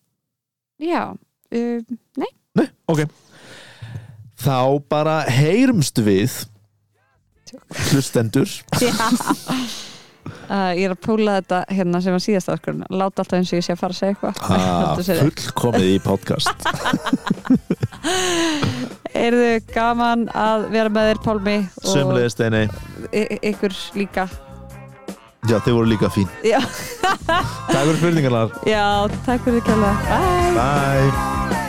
Já, uh,
Nei, ok Þá bara heyrumst við hlustendur
já. Uh, Ég er að púla þetta hérna sem var síðast áskurinn Láta alltaf eins og ég sé að fara að segja eitthvað
Ah,
Þetta segir-
fullkomið í podcast
Heyrðu, gaman að vera með þér Pálmi og
Sömlega steini
y- y- ykkur líka
Já, þið voru líka fín
Já,
Takk fyrir spurningarnar
já takk fyrir kjalla Bye
Bye